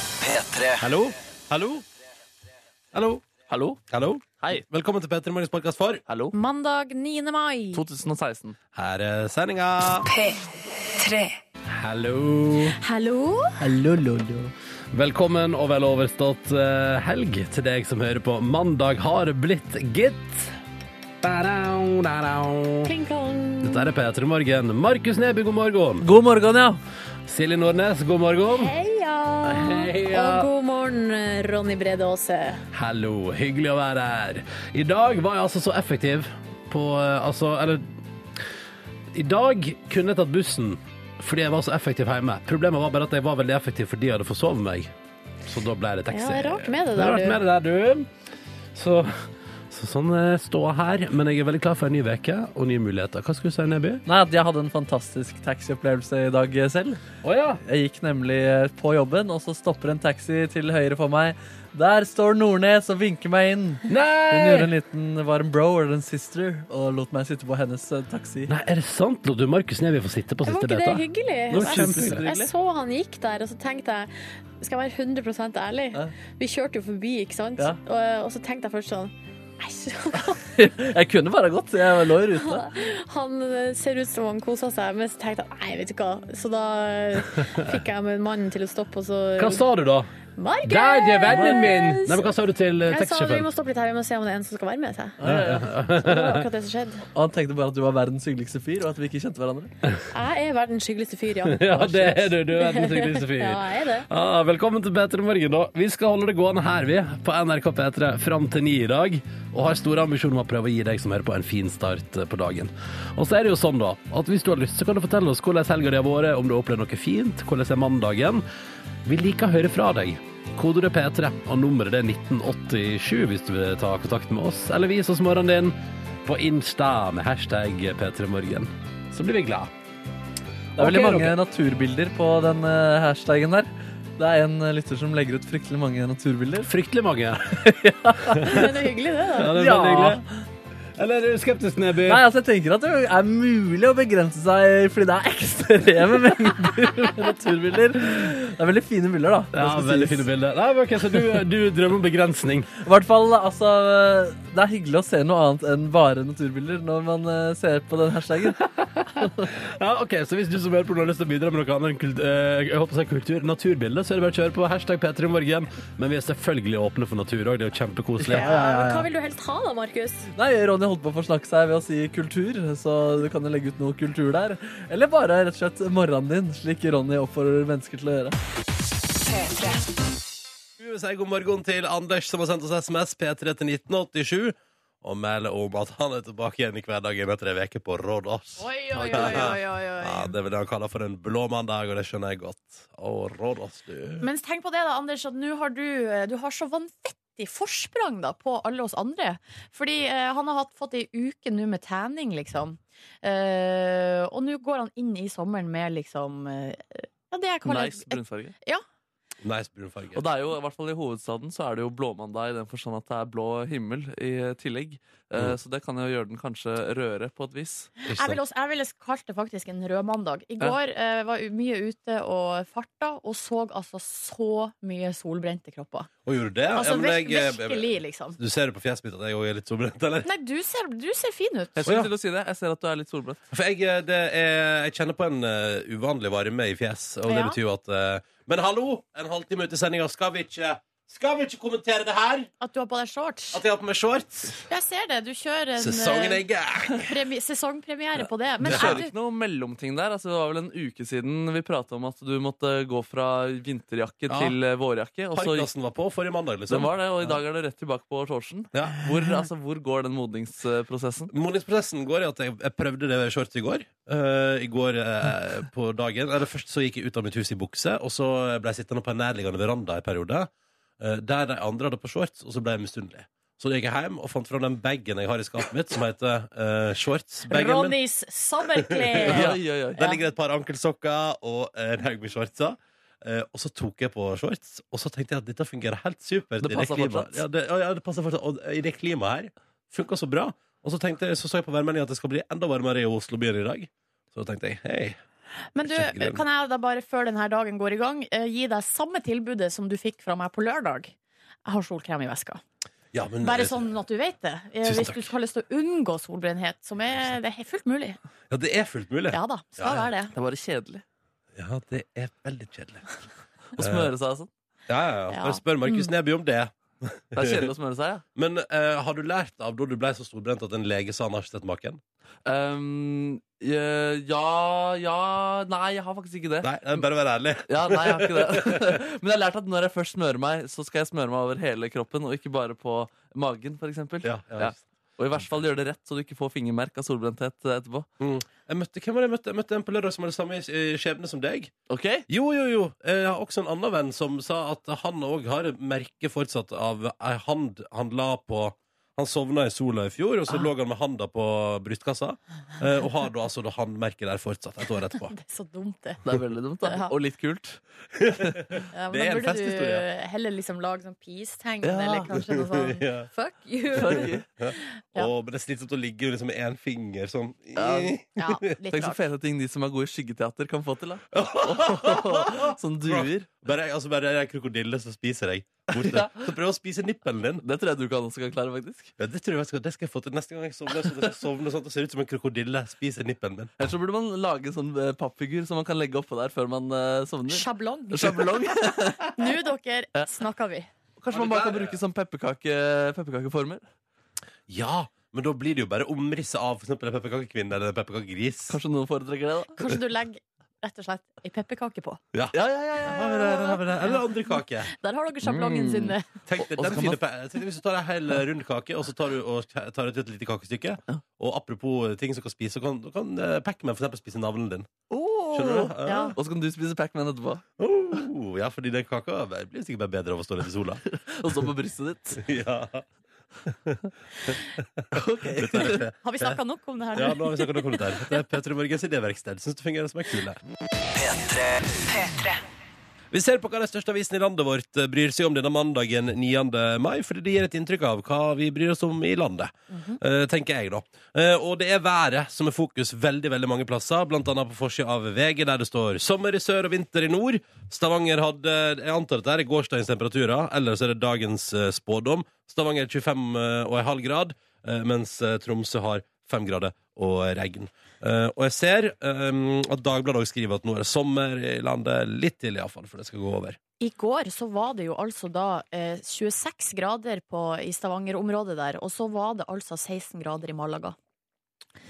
P3. Hallo? Hallo? Hallo? Hallo? Hallo? Hei. Velkommen til Petter Morgens podkast for Hallo? Mandag 9. mai. 2016. Her er sendinga. P3. Hallo. Hallo? Velkommen og vel overstått eh, helg til deg som hører på. Mandag har blitt, gitt. Badao, dadao. Dette er P3 Morgen. Markus Neby, god morgen. God morgen, ja. Silje Nordnes, god morgen. Heia. Heia. Og god morgen, Ronny Brede Aase. Hallo, hyggelig å være her. I dag var jeg altså så effektiv på eh, Altså, eller I dag kunne jeg tatt bussen fordi jeg var så effektiv hjemme. Problemet var bare at jeg var veldig effektiv fordi jeg hadde forsovet meg. Så da ble det taxi. Ja, rart med det er der, rart du. med det der, du. Så, så sånn eh, står jeg her. Men jeg er veldig klar for en ny uke og nye muligheter. Hva skulle du si, Neby? Nei, at Jeg hadde en fantastisk taxiopplevelse i dag selv. Å ja. Jeg gikk nemlig eh, på jobben, og så stopper en taxi til høyre for meg. Der står Nordnes og vinker meg inn. Hun gjorde Nei! en liten det var en bro eller en sister og lot meg sitte på hennes eh, taxi. Nei, er det sant? Lot du Markus Neby få sitte på Var siste ikke det beta? hyggelig? Det var Jeg, kjempehyggelig. jeg så han gikk der, og så tenkte jeg Skal jeg være 100 ærlig? Ja. Vi kjørte jo forbi, ikke sant? Ja. Og, og så tenkte jeg først sånn Æsj, Jeg kunne bare gått. Jeg lå i ruta. han eh, ser ut som han koser seg, men så tenkte jeg nei, vet du hva. Så da eh, fikk jeg med mannen til å stoppe, og Hva så sa du da? Markus! Der, det er vennen min! Nei, men hva sa du til eh, Jeg sa vi taxisjåføren? må stoppe litt her, vi må se om det er en som skal være med seg. Så det var akkurat det som skjedde. Og han tenkte bare at du var verdens hyggeligste fyr, og at vi ikke kjente hverandre. Jeg er verdens hyggeligste fyr, ja. Ja, det er du. Du er verdens hyggeligste fyr. Ja, jeg er det. Ah, velkommen til Peter i morgen, da. Vi skal holde det gående her, vi, på NRK P3 fram til ni i dag. Og har store ambisjoner om å prøve å gi deg som hører på, en fin start eh, på dagen. Og så er det jo sånn, da, at hvis du har lyst, så kan du fortelle oss hvordan helga di har vært, om du har opplevd noe fint, hvordan er mandagen. Vi liker å høre fra deg. Kodeordet P3, og nummeret det er 1987 hvis du vil ta kontakt med oss. Eller vis oss morgenen din på Insta med hashtag P3morgen. Så blir vi glad. Det er veldig Ok, mange Robin. naturbilder på den eh, hashtagen der. Det er en eh, lytter som legger ut fryktelig mange naturbilder. Fryktelig mange. Men det er hyggelig, det, Ja, da. det er Ja. veldig hyggelig. Eller er du skeptisk, Neby? Nei, altså jeg tenker at det er mulig å begrense seg fordi det er ekstreme mengder med naturbilder. Det er veldig fine bilder, da. det Ja, skal veldig sies. fine bilder. Nei, men ok, så du, du drømmer om begrensning. I hvert fall, altså Det er hyggelig å se noe annet enn bare naturbilder når man eh, ser på den hashtagen. Ja, ok, Så hvis du som hører på nå har lyst til å bidra med noe annet enn kult, eh, jeg håper å si kultur, naturbilde, så er det bare å kjøre på hashtag P3morgen. Men vi er selvfølgelig åpne for natur òg, det er jo kjempekoselig. Men hva vil du helst ha da, Markus? Nei, Ronny holdt på å forsnakke seg ved å si kultur, så du kan jo legge ut noe kultur der. Eller bare rett og slett morgenen din, slik Ronny oppfordrer mennesker til å gjøre. P3. Vi vil si god morgen til Anders som har sendt oss SMS P3 til 1987 og melder om at han er tilbake igjen i hverdagen etter ei uke på Rådås. oi, oi, Ja, det er vel det han kaller for en blå mandag, og det skjønner jeg godt. Å, Rådås, du. Men tenk på det da, Anders, at nå har du, eh, du har så vanvittig forsprang da, på alle oss andre. Fordi eh, han har hatt, fått ei uke nå med tanning, liksom. Eh, og nå går han inn i sommeren med liksom eh, ja, det jeg kaller Nice brunfarge. Nice brun farge. Og det er jo, i hvert fall i hovedstaden, så er det jo blåmandag i den forstand at det er blå himmel i tillegg. Eh, Mm. Så det kan jo gjøre den kanskje rødere på et vis. Ikke Jeg sant? ville vil ville kalt det faktisk en rødmandag. I går eh, var jeg mye ute og farta, og så altså så mye solbrente kropper. Og gjorde du det? Altså Ja, men vir jeg- eh, virkelig, liksom. Du ser det på fjeset mitt at jeg òg er litt solbrent, eller? Nei, du ser, du ser fin ut. Jeg skulle til å si det. Jeg ser at du er litt solbrent. For jeg, eh, det er, jeg kjenner på en eh, uvanlig varme i fjes, og det Ja. betyr jo at eh, Men hallo! En halvtime ute i sendinga, skal vi ikke skal vi ikke kommentere det her? At du har på deg shorts. At jeg har på meg shorts? Jeg ser det. Du kjører en Sesongen er i eh, gang! premi sesongpremiere på det. Men Det er skjer du, ikke noe mellomting der. Altså, det var vel en uke siden vi prata om at du måtte gå fra vinterjakke Ja. til eh, vårjakke. Og så gikk Parkdassen var på forrige mandag, den liksom. var det, og i dag er det rett tilbake på shortsen. Ja. Hvor, altså, hvor går den modningsprosessen? Modningsprosessen går i at jeg, jeg prøvde det shorts i går. eh, I går eh, på dagen. Eller først så gikk jeg ut av mitt hus i bukse, og så ble jeg sittende på en nærliggende veranda en periode, eh, der de andre hadde på shorts, og så ble jeg misunnelig. Så da gikk jeg hjem og fant fram den bagen jeg har i skapet mitt, som heter uh, shorts-bagen min. Ronnys sommerklær! Oi, oi, oi. Der ligger det et par ankelsokker og en haug med shortser. Eh, og så tok jeg på shorts, og så tenkte jeg at dette fungerer helt supert. Det i passer klimaet. fortsatt. Ja, det, ja, det passer fortsatt. Og i det klimaet her funka så bra. Og så, tenkte jeg, så så jeg på værmeldinga at det skal bli enda varmere i Oslobyen i dag. Så da tenkte jeg hei, Men du, Sjekker den. kan jeg da bare før denne dagen går i gang, eh, gi deg samme tilbudet som du fikk fra meg på lørdag? Jeg har solkrem i veska. Ja, men- Bare sånn at du vet det. Eh, Tusen Hvis takk. du skal ha lyst til å unngå solbrennhet, som er, det er fullt mulig. Ja, det er fullt mulig. Ja da, skal Ja, ja. være det. Det er bare kjedelig Ja, det er veldig kjedelig. å smøre seg sånn. Ja, ja, ja. Ja. Mm. Bare spør Markus Neby om det. Det er kjedelig å smøre seg, ja. Men eh, har du lært av da du ble så storbrent at en lege sa han har ikke sett maken? Ehm, eh, ja, ja Nei, jeg har faktisk ikke det. Nei, det er bare å være ærlig. Ja, nei, jeg har ikke det. Men jeg har lært at når jeg først smører meg, så skal jeg smøre meg over hele kroppen, og ikke bare på magen, f.eks. Ja, ja. Ja. Og i hvert fall gjøre det rett, så du ikke får fingermerk av solbrenthet eh, etterpå. Mm. Jeg møtte, hvem var det jeg møtte? Jeg møtte en på lørdag som hadde samme eh, skjebne som deg. Ok? Jo, jo, jo. Eh, Jeg har også en annen venn som sa at han òg har merke fortsatt av ei hand han la på Han sovna i sola i fjor, og så lå han med handa på brystkassa. eh, Og har da altså da handmerket der fortsatt, et år etterpå. Det er så dumt, det. Det er veldig dumt, da. Ja. Og litt kult. Ja, men Det er da en burde festhistorie. du heller liksom lage sånn peace-tegn, Ja. eller kanskje noe sånn Ja. fuck you. Ja. Å, men det er slitsomt å ligge liksom med én finger sånn. Ja, litt Tenk så rart. fete ting de som er gode i skyggeteater, kan få til. da Sånn duer. Bare, altså, bare er jeg krokodille, så spiser jeg. Borte. Ja. Så prøv å spise nippelen din. Det tror jeg du kan også kan klare, faktisk. Ja, det tror jeg jeg skal, det skal jeg få til neste gang jeg sovner. Så det skal sovne sånn at det ser ut som en krokodille spiser nippelen min. Ellers så burde man lage en sånn eh, pappfigur som man kan legge oppå der før man eh, sovner. Sjablong. Sjablong. Nå, dere, snakker vi. Kanskje man bare kan bruke sånn pepperkake- pepperkakeformer. Ja, men da blir det jo bare omrisset av for eksempel en pepperkakekvinne eller en pepperkakegris. Kanskje noen foretrekker det, da. Kanskje du legger rett og slett ei pepperkake på. Ja, ja, ja, Her har vi det, her har vi det. Eller andre kake. Der har dere sjablongen Mm. sin. Tenk deg, Og- og så den kan fine, pe- tenk deg hvis du tar en hel rund kake, og så tar du og tar ut et lite kakestykke. Og apropos ting som kan spise, så kan, da kan eh, Pac-Man for eksempel spise navlen din. Skjønner du? Ja. Og så kan du spise Pac-Man etterpå. Oh, ja, fordi den kaka blir sikkert bare bedre av å stå litt i sola. Og så på brystet ditt. ja. Ok. Har vi snakka nok om det her? ja, nå? nå har vi snakket nok om det der. Dette er Petter Morgens idéverksted. Syns du fungerer som en kule? P3. Vi ser på hva den største avisen i landet vårt eh, bryr seg om denne mandagen 9. mai, fordi det gir et inntrykk av hva vi bryr oss om i landet, Mhm. eh, tenker jeg da. Eh, og det er været som er fokus veldig, veldig mange plasser, blant annet på forsida av VG, der det står sommer i sør og vinter i nord. Stavanger hadde, jeg antar at det her er gårsdagens temperaturer, ellers er det dagens eh, spådom. Stavanger 25,5 grad, eh, mens eh, Tromsø har 5 grader og regn. Eh, og jeg ser eh, at Dagbladet også skriver at nå er det sommer i landet, litt til iallfall, for det skal gå over. I går så var det jo altså da eh, 26 grader på, i Stavanger-området der, og så var det altså 16 grader i Malaga.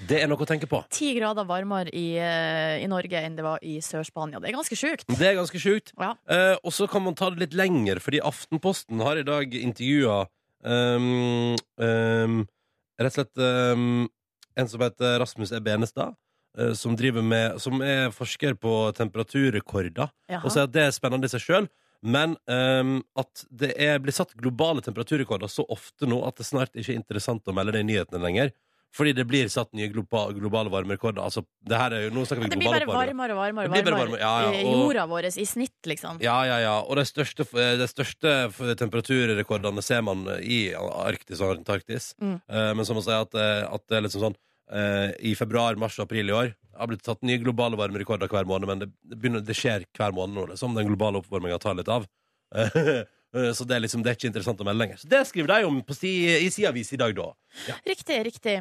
Det er noe å tenke på. 10 grader varmere i, eh, i Norge enn det var i Sør-Spania. Det er ganske sjukt. Det er ganske sjukt. Ja. Eh, og så kan man ta det litt lenger, fordi Aftenposten har i dag intervjua ehm, ehm, Rett og slett ehm, en som heter Rasmus E. Benestad, eh, som, driver med, som er forsker på temperaturrekorder. Jaha. Og sier at det er spennende i seg sjøl, men ehm, at det er, blir satt globale temperaturrekorder så ofte nå at det snart ikke er interessant å melde det i nyhetene lenger. Fordi det blir satt nye globa, globale varmerekorder. Altså, det her er jo, nå snakker vi det blir globale bare oppvarming. varmere og varmere. Det blir bare varmere. varmere, ja, ja, I- i og- Jorda vår i snitt, liksom. Ja, ja, ja. Og de største, de største temperaturrekordene ser man eh, i Arktis og Antarktis. Mm. Eh, Men som å si at, eh, at det er liksom sånn eh, I februar, mars og april i år har blitt tatt nye globale varmerekorder hver måned, men det, det, begynner, det skjer hver måned nå, liksom. Den globale oppvarminga tar litt av. Eh, Så det er liksom, det er ikke interessant å melde lenger. Så det skriver de om på si, i si avis i dag, da. Riktig, riktig.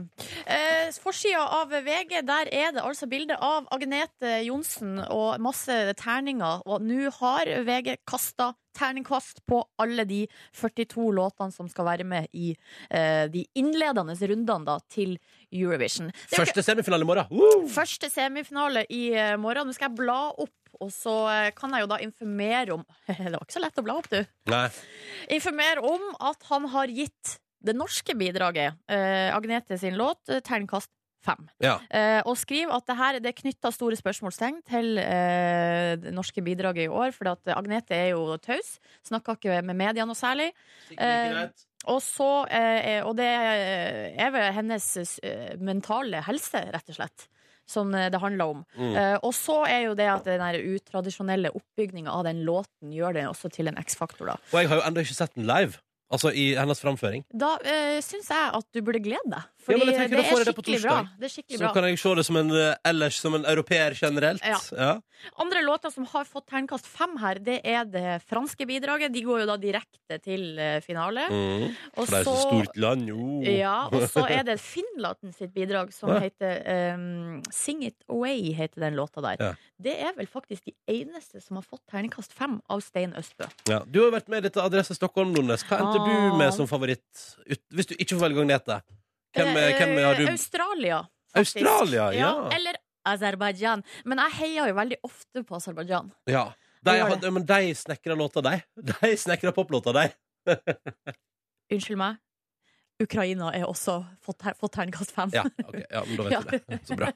Eh, Forsida av VG, der er det altså bilde av Agnete Johnsen og masse terninger. Og nå har VG kasta terningkast på alle de 42 låtene som skal være med i eh, de innledende rundene da, til Eurovision. Det er jo Første semifinale i morgen! Woo! ikke første semifinale i eh, morgen. Nå skal jeg bla opp, og så eh, kan jeg jo da informere om Det var ikke så lett å bla opp, du Nei. informere om at han har gitt det norske bidraget, eh, Agnete sin låt, eh, terningkast fem. Ja. Eh, og skriv at det her det er knytta store spørsmålstegn til eh, det norske bidraget i år, for at Agnete er jo taus, snakka ikke med media noe særlig. Eh, Og, så, eh, og det er vel hennes eh, mentale helse, rett og slett, som eh, det handler om. Mm. Eh, og så er jo det at den her utradisjonelle oppbygninga av den låten gjør den også til en X-faktor, da. Og jeg har jo ennå ikke sett den live. Altså i hennes framføring. Da uh, syns jeg eh, at du burde glede deg. Ja, Fordi men jeg tenker det, da får er jeg det på skikkelig bra. torsdag. det er skikkelig Så bra. kan jeg se det som en, eh, ellers som en europeer generelt. Ja. Ja. Andre låter som har fått terningkast fem her, det er det franske bidraget. De går jo da direkte til eh, finale. Mm. Og For det er så stort land, jo. Ja, og så er det Finnlaten sitt bidrag som Ja. heter ehm, Sing It Away, heter den låta der. Ja. Det er vel faktisk de eneste som har fått terningkast fem av Stein Østbø. Ja. Du har jo vært med i dette Adresse Stockholm, Nordnes. Hva endte du Ah. med som favoritt? ut- Hvis du ikke får velge Agnete. Hvem, eh, hvem har du Eh, Australia, faktisk. Australia, ja. Eller Aserbajdsjan. Men jeg heier jo veldig ofte på Aserbajdsjan. Ja. De, Vi har hadde, men de snekra låta, de. De snekra poplåta, de. Unnskyld meg. Ukraina er også fått, ter fått terningkast fem. Ja, ok. ja, men da vet du det. Så bra.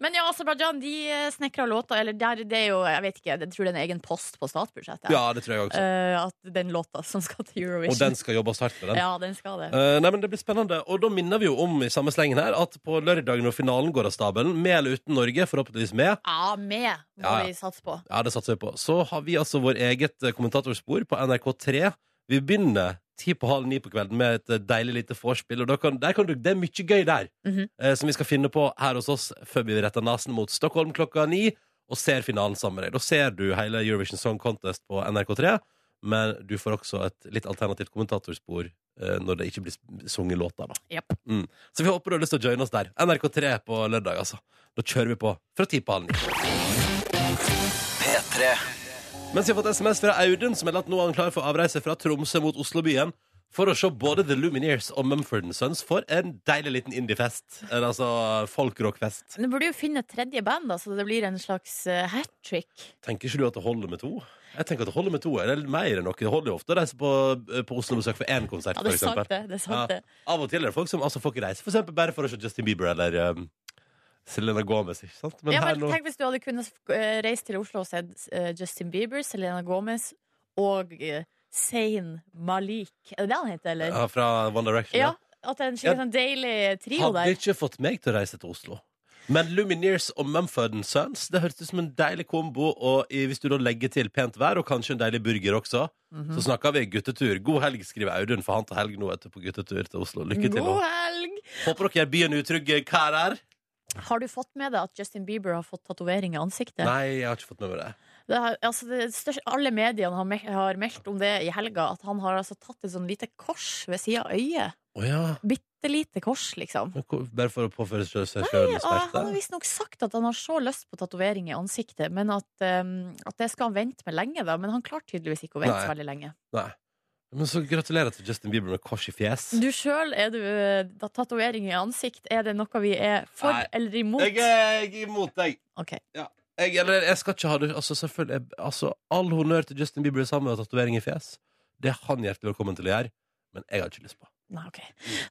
Men ja, Aserbajdsjan de eh, snekrer låter, eller der, det er jo, jeg vet ikke, jeg tror det er en egen post på statsbudsjettet. Ja, det tror jeg også. Eh, at den låta som skal til Eurovision. Og den skal jobbes hardt med, den. Ja, den skal det. Eh, nei, men Det blir spennende. Og da minner vi jo om i samme slengen her at på lørdag når finalen går av stabelen, med eller uten Norge, forhåpentligvis med, Ja, med må Ja, ja. vi satse på. ja, det satser vi på, så har vi altså vår eget eh, kommentatorspor på NRK3. Vi begynner ti på halv ni på kvelden med et eh, deilig lite vorspiel. Og da kan, der kan du, det er mye gøy der Mhm. eh, som vi skal finne på her hos oss før vi retter nesen mot Stockholm klokka ni og ser finalen sammen med deg. Da ser du hele Eurovision Song Contest på NRK3, men du får også et litt alternativt kommentatorspor eh, når det ikke blir sunget låter, da. Japp. Mm. Så vi håper du har lyst til å joine oss der. NRK3 på lørdag, altså. Da kjører vi på fra ti på halv ni. P3 Mens vi har fått SMS fra Audun, som melder at nå er han klar for avreise fra Tromsø mot Oslobyen. For å se både The Lumineers og Mumford Sons for en deilig liten indiefest. Eller altså folkrockfest. Men Du burde jo finne et tredje band, da, så det blir en slags eh, hat trick. Tenker ikke du at det holder med to? Jeg tenker at det holder med to. Eller mer enn noe. Det holder jo ofte å reise på, eh, på Oslo-besøk for én konsert, Ja, for det er sant, eksempel. det. det, er sant, Ja. det. Av og til er det folk som altså, får ikke reise, for eksempel bare for å se Justin Bieber eller um, Selena Gomez, ikke sant? Men Ja, her men nå- tenk hvis du hadde kunnet eh, reise til Oslo og sett eh, Justin Bieber, Selena Gomez og eh, Zayn Malik. Er det det han heter, eller? Ja, fra One Direction. Ja. At det er en skikkelig sånn deilig trio Hadde der. ikke fått meg til å reise til Oslo. Men Lumineers og Mumford Sons det høres ut som en deilig kombo. Og i- hvis du da legger til pent vær og kanskje en deilig burger også, Mhm. så snakker vi guttetur. God helg, skriver Audun, for han tar helg nå etter på guttetur til Oslo. Lykke til. God Og. helg! Håper dere gjør byen utrygg, karer. Har du fått med deg at Justin Bieber har fått tatovering i ansiktet? Nei, jeg har ikke fått med meg det. Det har, altså det største, alle mediene har, me har meldt om det i helga, at han har altså tatt et sånn lite kors ved sida av øyet. Å ja. Bitte lite kors, liksom. Men hvor- Bare for å påføre seg seg sjøl Og han har smerte? visstnok sagt at han har så lyst på tatovering i ansiktet, men at, um, at det skal han vente med lenge. Da. Men han klarte tydeligvis ikke å vente Nei. så veldig lenge. Nei. Men så gratulerer til Justin Bieber med kors i fjes. Du sjøl, er du eh, da- tatovering i ansikt, er det noe vi er for Nei. eller imot? Jeg er jeg er imot deg. Ok. jeg, eller, jeg skal ikke ha det altså, selvfølgelig, jeg, altså, All honnør til Justin Bieber sammen med tatovering i fjes. Det er han hjertelig velkommen til å gjøre, men jeg har ikke lyst på. Nei, ok.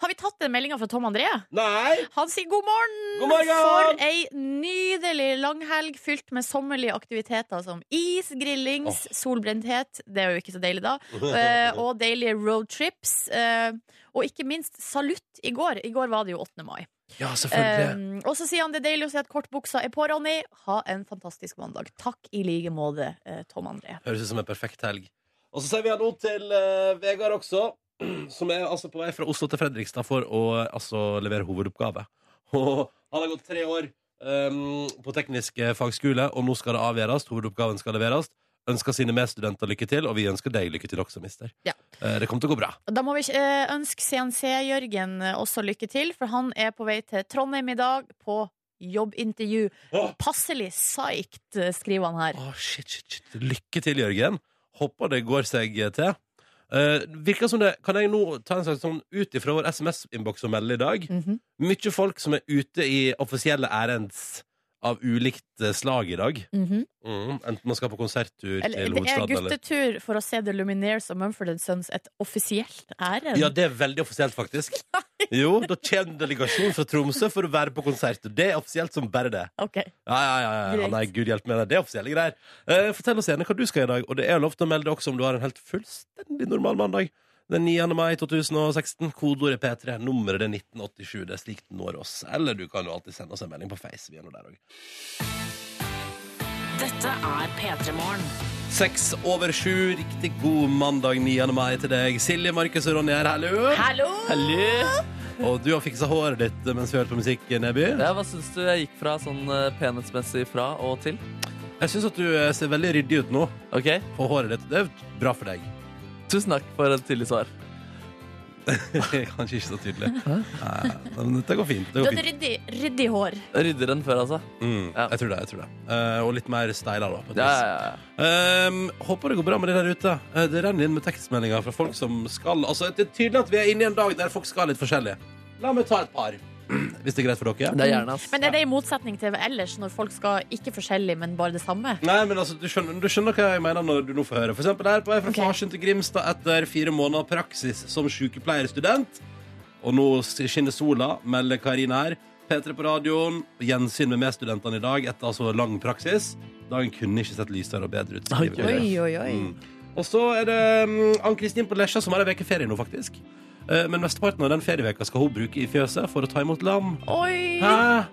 Har vi tatt den meldinga fra Tom André? Nei! Han sier god morgen! God morgen! For ei nydelig langhelg fylt med sommerlige aktiviteter som is, grillings, solbrenthet Det er jo ikke så deilig da. eh, Og deilige roadtrips. eh, Og ikke minst salutt i går. I går var det jo 8. mai. Ja, selvfølgelig. Eh, Og så sier han det er deilig å se at kortbuksa er på, Ronny. Ha en fantastisk mandag. Takk i like måte, eh, Tom André. Høres ut som en perfekt helg. Og så sier vi hallo til eh, Vegard også, som er altså på vei fra Oslo til Fredrikstad for å eh, altså, levere hovedoppgave. Og han har gått tre år um, på teknisk eh, fagskole, og nå skal det avgjøres. Hovedoppgaven skal leveres. Ønsker sine medstudenter lykke til, og vi ønsker deg lykke til også, mister. Ja. Eh, det kommer til å gå bra. Da må vi eh, ønske CNC-Jørgen eh, også lykke til, for han er på vei til Trondheim i dag på jobbintervju. Åh! Passelig psyched, eh, skriver han her. Å, shit, shit, shit. Lykke til, Jørgen. Håper det går seg til. Eh, virker som det Kan jeg nå ta en slags sånn ut ifra vår SMS-innboks og melde i dag? Mhm. Mye folk som er ute i offisielle ærends av ulikt eh, slag i dag. Mhm. Mm, enten man skal på konserttur eller, til det er hovedstaden eller guttetur for å se The Lumineers og Mumford Sons et offisielt ærend. Ja, det er veldig offisielt, faktisk. Jo, da kommer en delegasjon fra Tromsø for å være på konsert. Og det er offisielt som bare det. Ok. Ja, ja, ja, ja. Greit. Nei, gud hjelpe meg, det er offisielle greier. Eh, fortell oss gjerne hva du skal i dag, og det er lov til å melde også om du har en helt fullstendig normal mandag. Den 9. mai 2016, kodeordet P3, nummeret det er 1987, det er slik det når oss. Eller du kan jo alltid sende oss en melding på Face, vi er nå der òg. Dette er P3 Morgen. Seks over sju, riktig god mandag 9. mai til deg. Silje, Markus og Ronny her, hallo. Hallo! Hallo. Og du har fiksa håret ditt mens vi hørte på musikk, Neby. Ja, hva syns du jeg gikk fra sånn eh, penhetsmessig fra og til? Jeg syns at du eh, ser veldig ryddig ut nå Ok, på håret ditt. Det er bra for deg. Tusen takk for et tidlig svar. Kanskje ikke så tydelig. Nei, Men dette går fint. Du Det går hadde fint. ryddig, ryddig hår. Ryddigere enn før, altså. Mm, Ja. jeg tror det. jeg tror det Eh, Og litt mer steila, da. På et Ja, vis. ja, ja. Ehm, håper det går bra med det der ute. Eh, det renner inn med tekstmeldinger fra folk som skal Altså, Det er tydelig at vi er inne i en dag der folk skal litt forskjellig. La meg ta et par, hvis det er greit for dere. Det er gjerne, ass. Men er det i motsetning til ellers, når folk skal ikke forskjellig, men bare det samme? Nei, men altså, du skjønner, du skjønner hva jeg mener når du nå får høre. For eksempel her på jeg er fra Ok. Farsund til Grimstad etter fire måneder praksis som sykepleierstudent. Og nå skinner sola, melder Karina her. P3 på radioen, gjensyn med medstudentene i dag etter altså lang praksis. Dagen kunne ikke sett lysere og bedre ut. Oi, skriver Karina. Oi, oi, oi. Mm. Og så er det mm, Ann-Kristin på Lesja som har ei uke ferie nå, faktisk. Eh, Men mesteparten av den ferieveka skal hun bruke i fjøset for å ta imot lam. Oi! Hæ?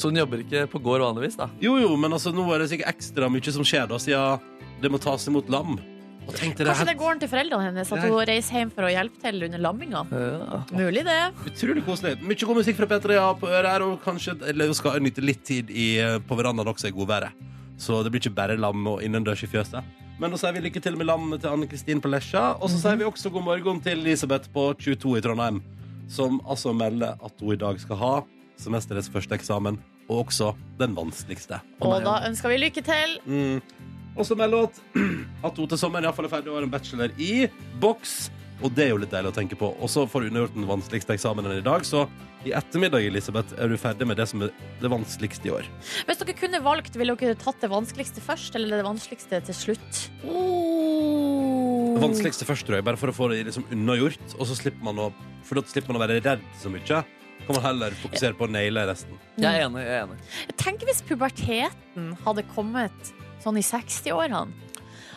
Så hun jobber ikke på gård vanligvis, da? Jo, jo, men altså, nå er det sikkert ekstra mye som skjer, da, siden det må tas imot lam. Og tenk deg det Kanskje er det går an til foreldrene hennes at hun reiser hjem for å hjelpe til under lamminga? Ja. Mulig det. utrolig koselig. Mye god musikk fra P3 ja, på øret her, og kanskje eller hun skal nyte litt tid i, eh, på verandaen også i godværet. Så det blir ikke bare lam og innendørs i fjøset. Men da sier vi lykke til med lam til Anne-Kristin på Lesja, og så sier vi også god morgen til Elisabeth på 22 i Trondheim, som altså melder at hun i dag skal ha semesterets første eksamen, og også den vanskeligste. Og da ønsker vi lykke til. Mm. Og så melder hun at- at hun til sommeren i hvert fall er ferdig og har en bachelor i boks. Og det er jo litt deilig å tenke på. Og så får du unnagjort den vanskeligste eksamenen i dag, så i ettermiddag Elisabeth, er du ferdig med det som er det vanskeligste i år. Hvis dere kunne valgt, ville dere tatt det vanskeligste først, eller det vanskeligste til slutt? Det vanskeligste først, tror jeg, bare for å få det liksom unnagjort. Og så slipper man å, for da slipper man å være redd så mye. Kan man heller fokusere på å naile resten. Jeg er enig. jeg er enig Tenk hvis puberteten hadde kommet sånn i 60-årene.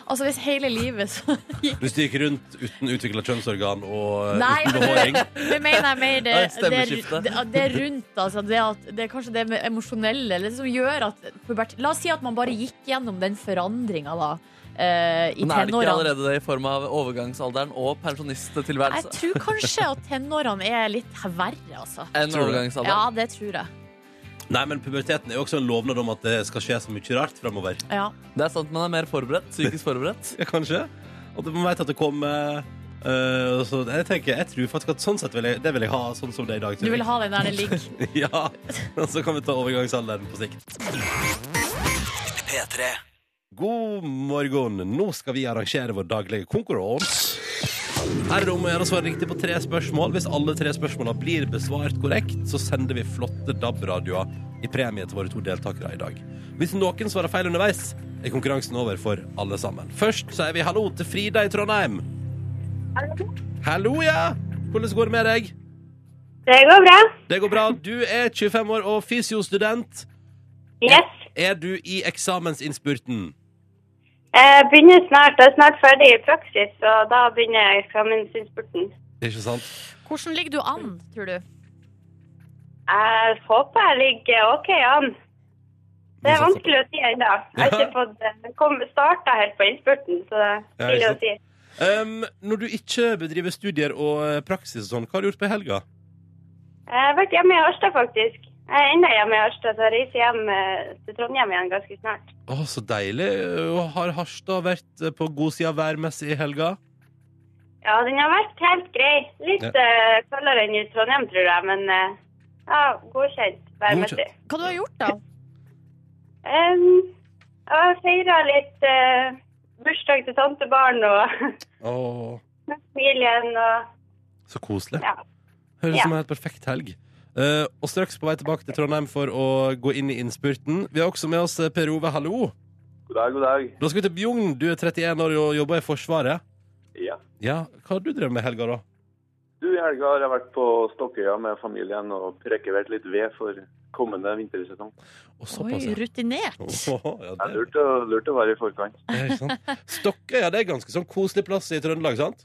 Altså hvis hele livet så Hvis du gikk rundt uten utvikla kjønnsorgan og eh, Nei, uten behåring Det mener jeg mer det, Nei, det, stemmeskifte. det, det er rundt, altså. Det, at, det er kanskje det med emosjonelle eller det som gjør at pubert... La oss si at man bare gikk gjennom den forandringa, da. Men er eh, I det ikke tenårene. allerede altså? det i form av overgangsalderen og Jeg pensjonisttilværelse? tror kanskje at tenårene er litt verre, altså. En Tror du det? overgangsalder. Ja, det tror jeg. Nei, men puberteten er jo også en lovnad om at det skal skje så mye rart framover. Ja. Det er sant, man er mer forberedt. Psykisk forberedt. Ja, kanskje. Og det- man vet at det kommer eh, så jeg tenker, jeg tror faktisk at sånn sett vil jeg, det vil jeg ha sånn som det er i dag. tror Du vil jeg. ha den der det ligger. Ja, og Så kan vi ta overgangsalderen på sikt. P3 God morgen. Nå skal vi arrangere vår daglige konkurranse. Her er det om å gjøre å svare riktig på tre spørsmål. Hvis alle tre spørsmålene blir besvart korrekt, så sender vi flotte DAB-radioer i premie til våre to deltakere i dag. Hvis noen svarer feil underveis, er konkurransen over for alle sammen. Først sier vi hallo til Frida i Trondheim. Hallo, ja! Hvordan går det med deg? Det går bra. Det går bra. Du er 25 år og fysiostudent. Yes. Er du i eksamensinnspurten? Jeg begynner snart. Jeg er snart ferdig i praksis, og da begynner jeg eksamensinnspurten. Ikke sant? Hvordan ligger du an, tror du? Jeg håper jeg ligger OK an. Vi Det satser er på- vanskelig å si ennå. Jeg har ikke fått eh, kom- startet helt på innspurten, så det er Ja, tidlig ikke å si. Um, når du ikke bedriver studier og eh, praksis og sånn, hva har du gjort på helga? Jeg har vært hjemme i Harstad, faktisk. Jeg er ennå hjemme i Harstad, så jeg reiser hjem eh, til Trondheim igjen ganske snart. Å, så deilig. Og Har Harstad vært eh, på god side værmessig i helga? Ja, den har vært helt grei. Litt Ja. eh, kaldere enn i Trondheim, tror jeg, men eh, ja, godkjent værmessig. Godkjent. Hva du har gjort, da? Um, jeg feira litt eh, bursdag til tantebarn og Å, familien og så koselig. Ja. Høres ut Ja. som en helt perfekt helg. Eh, og straks på vei tilbake til Trondheim for å gå inn i innspurten. Vi har også med oss eh, Per Ove, hallo. God dag, god dag. Da skal vi til Bjugn. Du er 31 år og jobber i Forsvaret. Ja. Ja, Hva har du drevet med i helga, da? Du, I helga har jeg vært på Stokkøya med familien og prekevert litt ved for kommende vintersesong. Å, Oi, såpass, ja. rutinert. Åh, Det ja, er det, lurt å, lurt å være i forkant. det er ikke sant. Stokkøya det er ganske sånn koselig plass i Trøndelag, sant?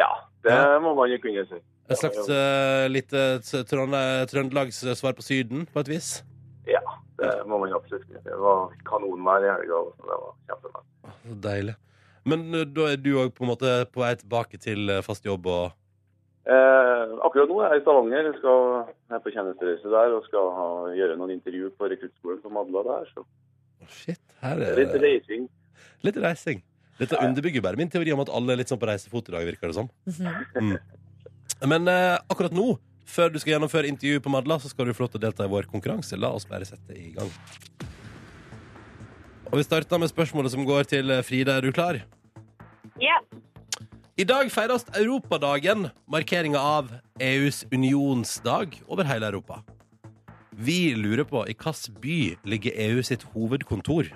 Ja, det Ja. må man jo kunne si. Et slags eh, lite s- Trønde- Trøndelags svar på Syden, på et vis. Det må man absolutt kunne si. Det var kanonvær i helga, så det var kjempebra. Så deilig. Men eh, da er du òg på en måte på vei tilbake til eh, fast jobb og Eh, akkurat nå er jeg i Stavanger. Jeg skal jeg er på tjenestereise der og skal ha, gjøre noen intervju på rekruttskolen på Madla der. Så Shit, her er litt reising. Litt reising. Dette underbygger bare min teori om at alle er litt sånn på reisefot i dag, virker det som. Mm. Men eh, akkurat nå, før du skal gjennomføre intervju på Madla, så skal du få lov til å delta i vår konkurranse. La oss bare sette i gang. Og vi starter med spørsmålet som går til eh, Frida. Er du klar? Ja. I dag feires Europadagen, markeringa av EUs unionsdag over hele Europa. Vi lurer på i hvilken by ligger EU sitt hovedkontor?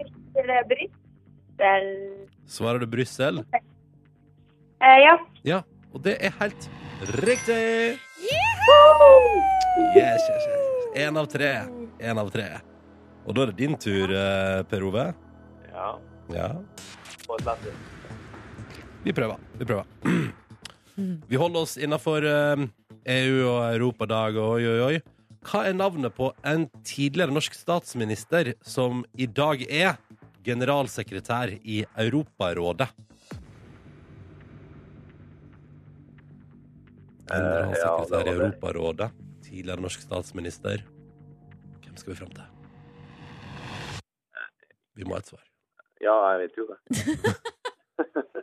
Til eh, Brussel. Svarer du Brussel? Eh, ja. Ja, og det er helt riktig! Woohoo! Yes, yes, yes. En av tre. En av tre. Og da er det din tur, eh, Per Ove. Ja. Ja, På et lese. vi prøver. Vi prøver. Vi holder oss innafor EU og Europadag og oi, oi, oi. Hva er navnet på en tidligere norsk statsminister som i dag er generalsekretær i Europarådet? Eh, ja, Generalsekretær det i var det. Europarådet. Tidligere norsk statsminister. Hvem skal vi fram til? Vi må ha et svar. Ja, jeg vet jo det.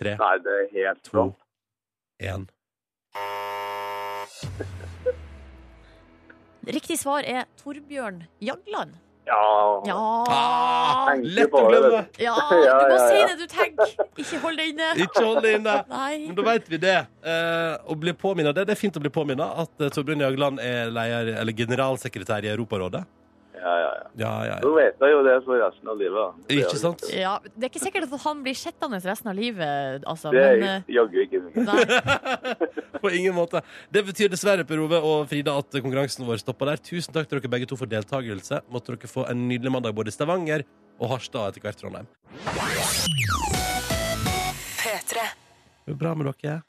Tre, Nei, det er helt to, bra. én. Riktig svar er Torbjørn Jagland. Ja. Ja! Ah, Tenker lett å bare det. glemme! ja Ja, du må ja, si ja. det du tenker! Ikke hold det inne. Ikke hold det inne! Men da Nei. vet vi det. Eh, å bli påminnet, det. Det er fint å bli påminnet at eh, Torbjørn Jagland er leier, eller generalsekretær i Europarådet. Ja, ja, ja. Ja, ja, Nå ja. vet jeg jo det for resten av livet. da. Ikke sant? Ja, det er ikke sikkert at han blir sittende resten av livet, altså. Det er Men, eh, jaggu ikke mye. nei. På ingen måte. Det betyr dessverre Per Ove og Frida at konkurransen vår stopper der. Tusen takk til dere begge to for deltakelse. Måtte dere få en nydelig mandag både i Stavanger og Harstad og etter hvert Trondheim. Det går bra med dere.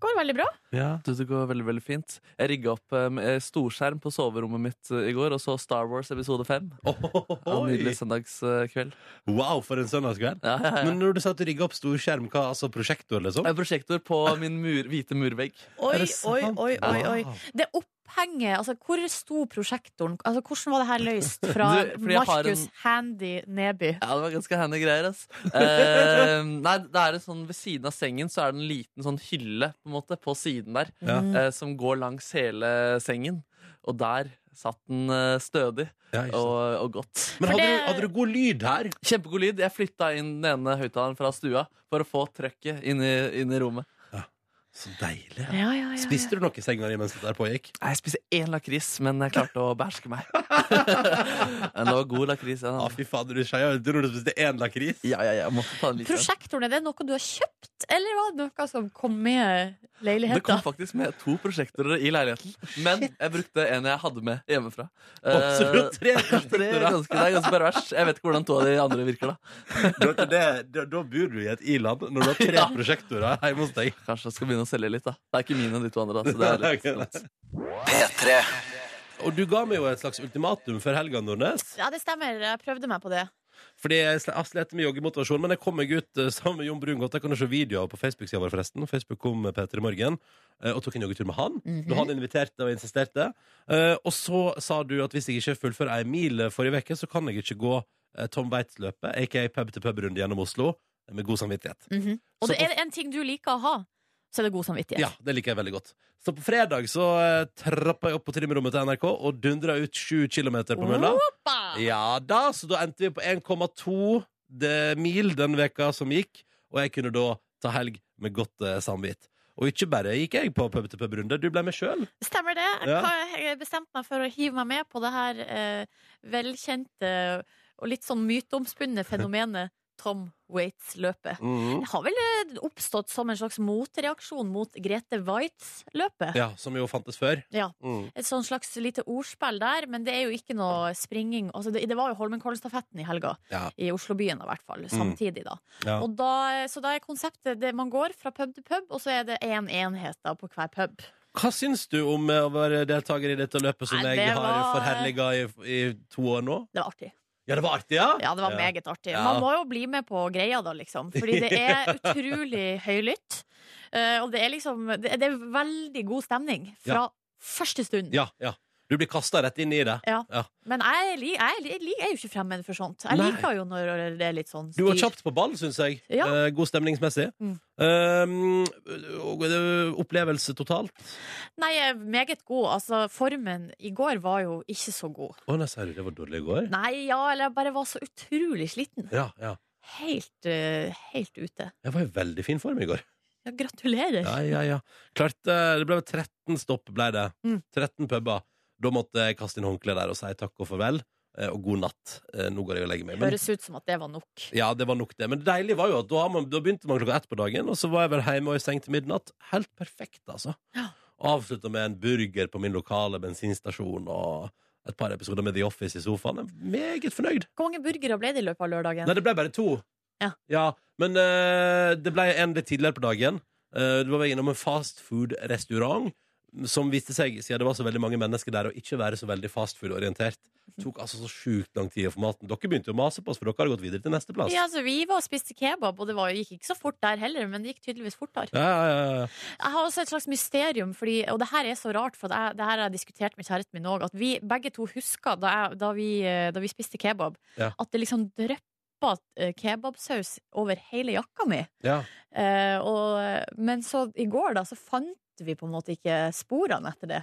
Går veldig bra. Ja. Du, det går veldig, veldig fint. Jeg rigga opp eh, med storskjerm på soverommet mitt eh, i går og så Star Wars episode 5. En nydelig søndagskveld. Wow, for en søndagskveld. Ja, ja, ja. Men når du sa at du rigga opp stor skjerm, hva, altså prosjektor, liksom? Jeg har prosjektor på min mur, hvite murvegg. Oi, Er det oi, sant? Ah. oi, oi, oi. Wow. Det opphenget, altså hvor sto prosjektoren? Altså hvordan var det her løst fra Du, fordi jeg har en- Markus Handy Neby? Ja, det var ganske handy greier, ass. Eh, nei, det er en sånn ved siden av sengen så er det en liten sånn hylle på en måte, på siden der, Ja. eh, som går langs hele sengen. Og der satt den eh, stødig Ja, ikke sant. og, og godt. For Men hadde, det- du, hadde du god lyd her? Kjempegod lyd. Jeg flytta inn den ene høyttaleren fra stua for å få trøkket inn i, inn i rommet. Så deilig. Ja, ja, ja, ja. Spiste du noe i senga di mens det der pågikk? Nei, Jeg spiste én lakris, men jeg klarte å beherske meg. Men det var god lakris. Ja, Ja, Ah, fy fader, du skeia. Jeg tror du spiste én lakris. Ah, ja, ja, jeg måtte ta en liten. Prosjektoren, er det noe du har kjøpt, eller var det noe som kom med Det kom leiligheten? faktisk med to prosjektorer i leiligheten, men jeg brukte en jeg hadde med hjemmefra. Og så Eh, lå tre det, er prosjektorer. ganske, det er ganske perverst. Jeg vet ikke hvordan to av de andre virker. da Da, det- da, da bor du i et i-land når du har tre Ja. prosjektorer hjemme hos deg. Kanskje jeg skal begynne å selge litt. da Det er ikke mine, de to andre. da Så det er litt dumt. P3. Og du ga meg jo et slags ultimatum før helga, Nordnes. Ja, det stemmer. Jeg prøvde meg på det. Fordi jeg sl- jeg slet med joggemotivasjon, men jeg kom meg ut eh, sammen med Jon Brungot. Jeg kan jo se videoer på Facebook-sida vår, forresten. Facebook kom med Peter i morgen eh, og tok en joggetur med han. Da han inviterte og insisterte. Eh, Og så sa du at hvis jeg ikke fullfører ei mil eh, forrige uke, så kan jeg ikke gå eh, Tom Waits-løpet, aka pub-til-pub-runde gjennom Oslo, eh, med god samvittighet. Mhm. Og Så det er det en ting du liker å ha, så er det god samvittighet. Ja, det liker jeg veldig godt. Så på fredag så eh, trappa jeg opp på trimrommet til NRK og dundra ut sju kilometer på mølla. Ba! Ja da, så da endte vi på 1,2 de- mil den veka som gikk, og jeg kunne da ta helg med godt eh, samvitt. Og ikke bare gikk jeg på pub til pub-runde, du ble med sjøl. Stemmer det. Ja. Hva- Jeg bestemte meg for å hive meg med på det her eh, velkjente og litt sånn myteomspunne fenomenet Tom Waits-løpet. Det har vel eh, oppstått som en slags motreaksjon mot Grete Waitz-løpet. Ja, som jo fantes før. Ja. Mm. Et sånn slags lite ordspill der, men det er jo ikke noe springing. Altså, det, det var jo Holmenkollen-stafetten i helga, Ja. i Oslobyen i hvert fall, samtidig da. Mm. Ja. Og da. Så da er konseptet det man går fra pub til pub, og så er det én en enhet da på hver pub. Hva syns du om eh, å være deltaker i dette løpet som Nei, jeg det har var- forherliga i, i to år nå? Det var artig. Ja, det var artig, ja? Ja, det var meget artig. Ja. Man må jo bli med på greia da, liksom. Fordi det er utrolig høylytt. Eh, og det er liksom Det det er veldig god stemning fra Ja. første stund. Ja, ja. Du blir kasta rett inn i det. Ja. Ja. Men jeg, li- jeg, li- jeg, li- jeg er jo ikke fremmed for sånt. Jeg Nei. liker jo når det er litt sånn Du var styr. kjapt på ball, syns jeg. Ja. Eh, god stemningsmessig. Mm. Um, og eh, opplevelse totalt. Nei, jeg er meget god. Altså, formen i går var jo ikke så god. Å nei, sa du det var dårlig i går? Nei, ja, eller jeg bare var så utrolig sliten. Ja, ja. Helt, eh, helt ute. Jeg var i veldig fin form i går. Ja, gratulerer. Ja, ja, ja. Klarte, eh, det ble vel 13 stopp, ble det. Mm. 13 puber. Da måtte jeg kaste inn håndkleet der og si takk og farvel, eh, og god natt. Eh, Nå går jeg og legger meg. Men, Høres ut som at det var nok. ja, det var nok det. Men det deilige var jo at da, har man, da begynte man klokka ett på dagen, og så var jeg vel hjemme og i seng til midnatt. Helt perfekt, altså. Avslutta med en burger på min lokale bensinstasjon og et par episoder med The Office i sofaen. Jeg er Meget fornøyd. Hvor mange burgere ble det i løpet av lørdagen? Nei, det ble bare to. Ja. men eh, det ble en litt tidligere på dagen. Uh, det var vi innom en fastfood-restaurant som viste seg, siden det var så veldig mange mennesker der, å ikke være så veldig fastfood-orientert. tok altså så sjukt lang tid å få maten. Dere begynte jo å mase på oss, for dere hadde gått videre til neste plass. Ja, altså, vi var og spiste kebab, og det var, gikk ikke så fort der heller, men det gikk tydeligvis fortere. Ja, ja, ja, ja. Jeg har også et slags mysterium, fordi, og det her er så rart, for at jeg, det her har jeg diskutert med kjæresten min òg, at vi begge to husker da, jeg, da, vi, eh, da vi spiste kebab, Ja. at det liksom dryppa eh, kebabsaus over hele jakka mi. Ja. Eh, og, men så i går, da, så fant vi på en måte ikke sporene etter det.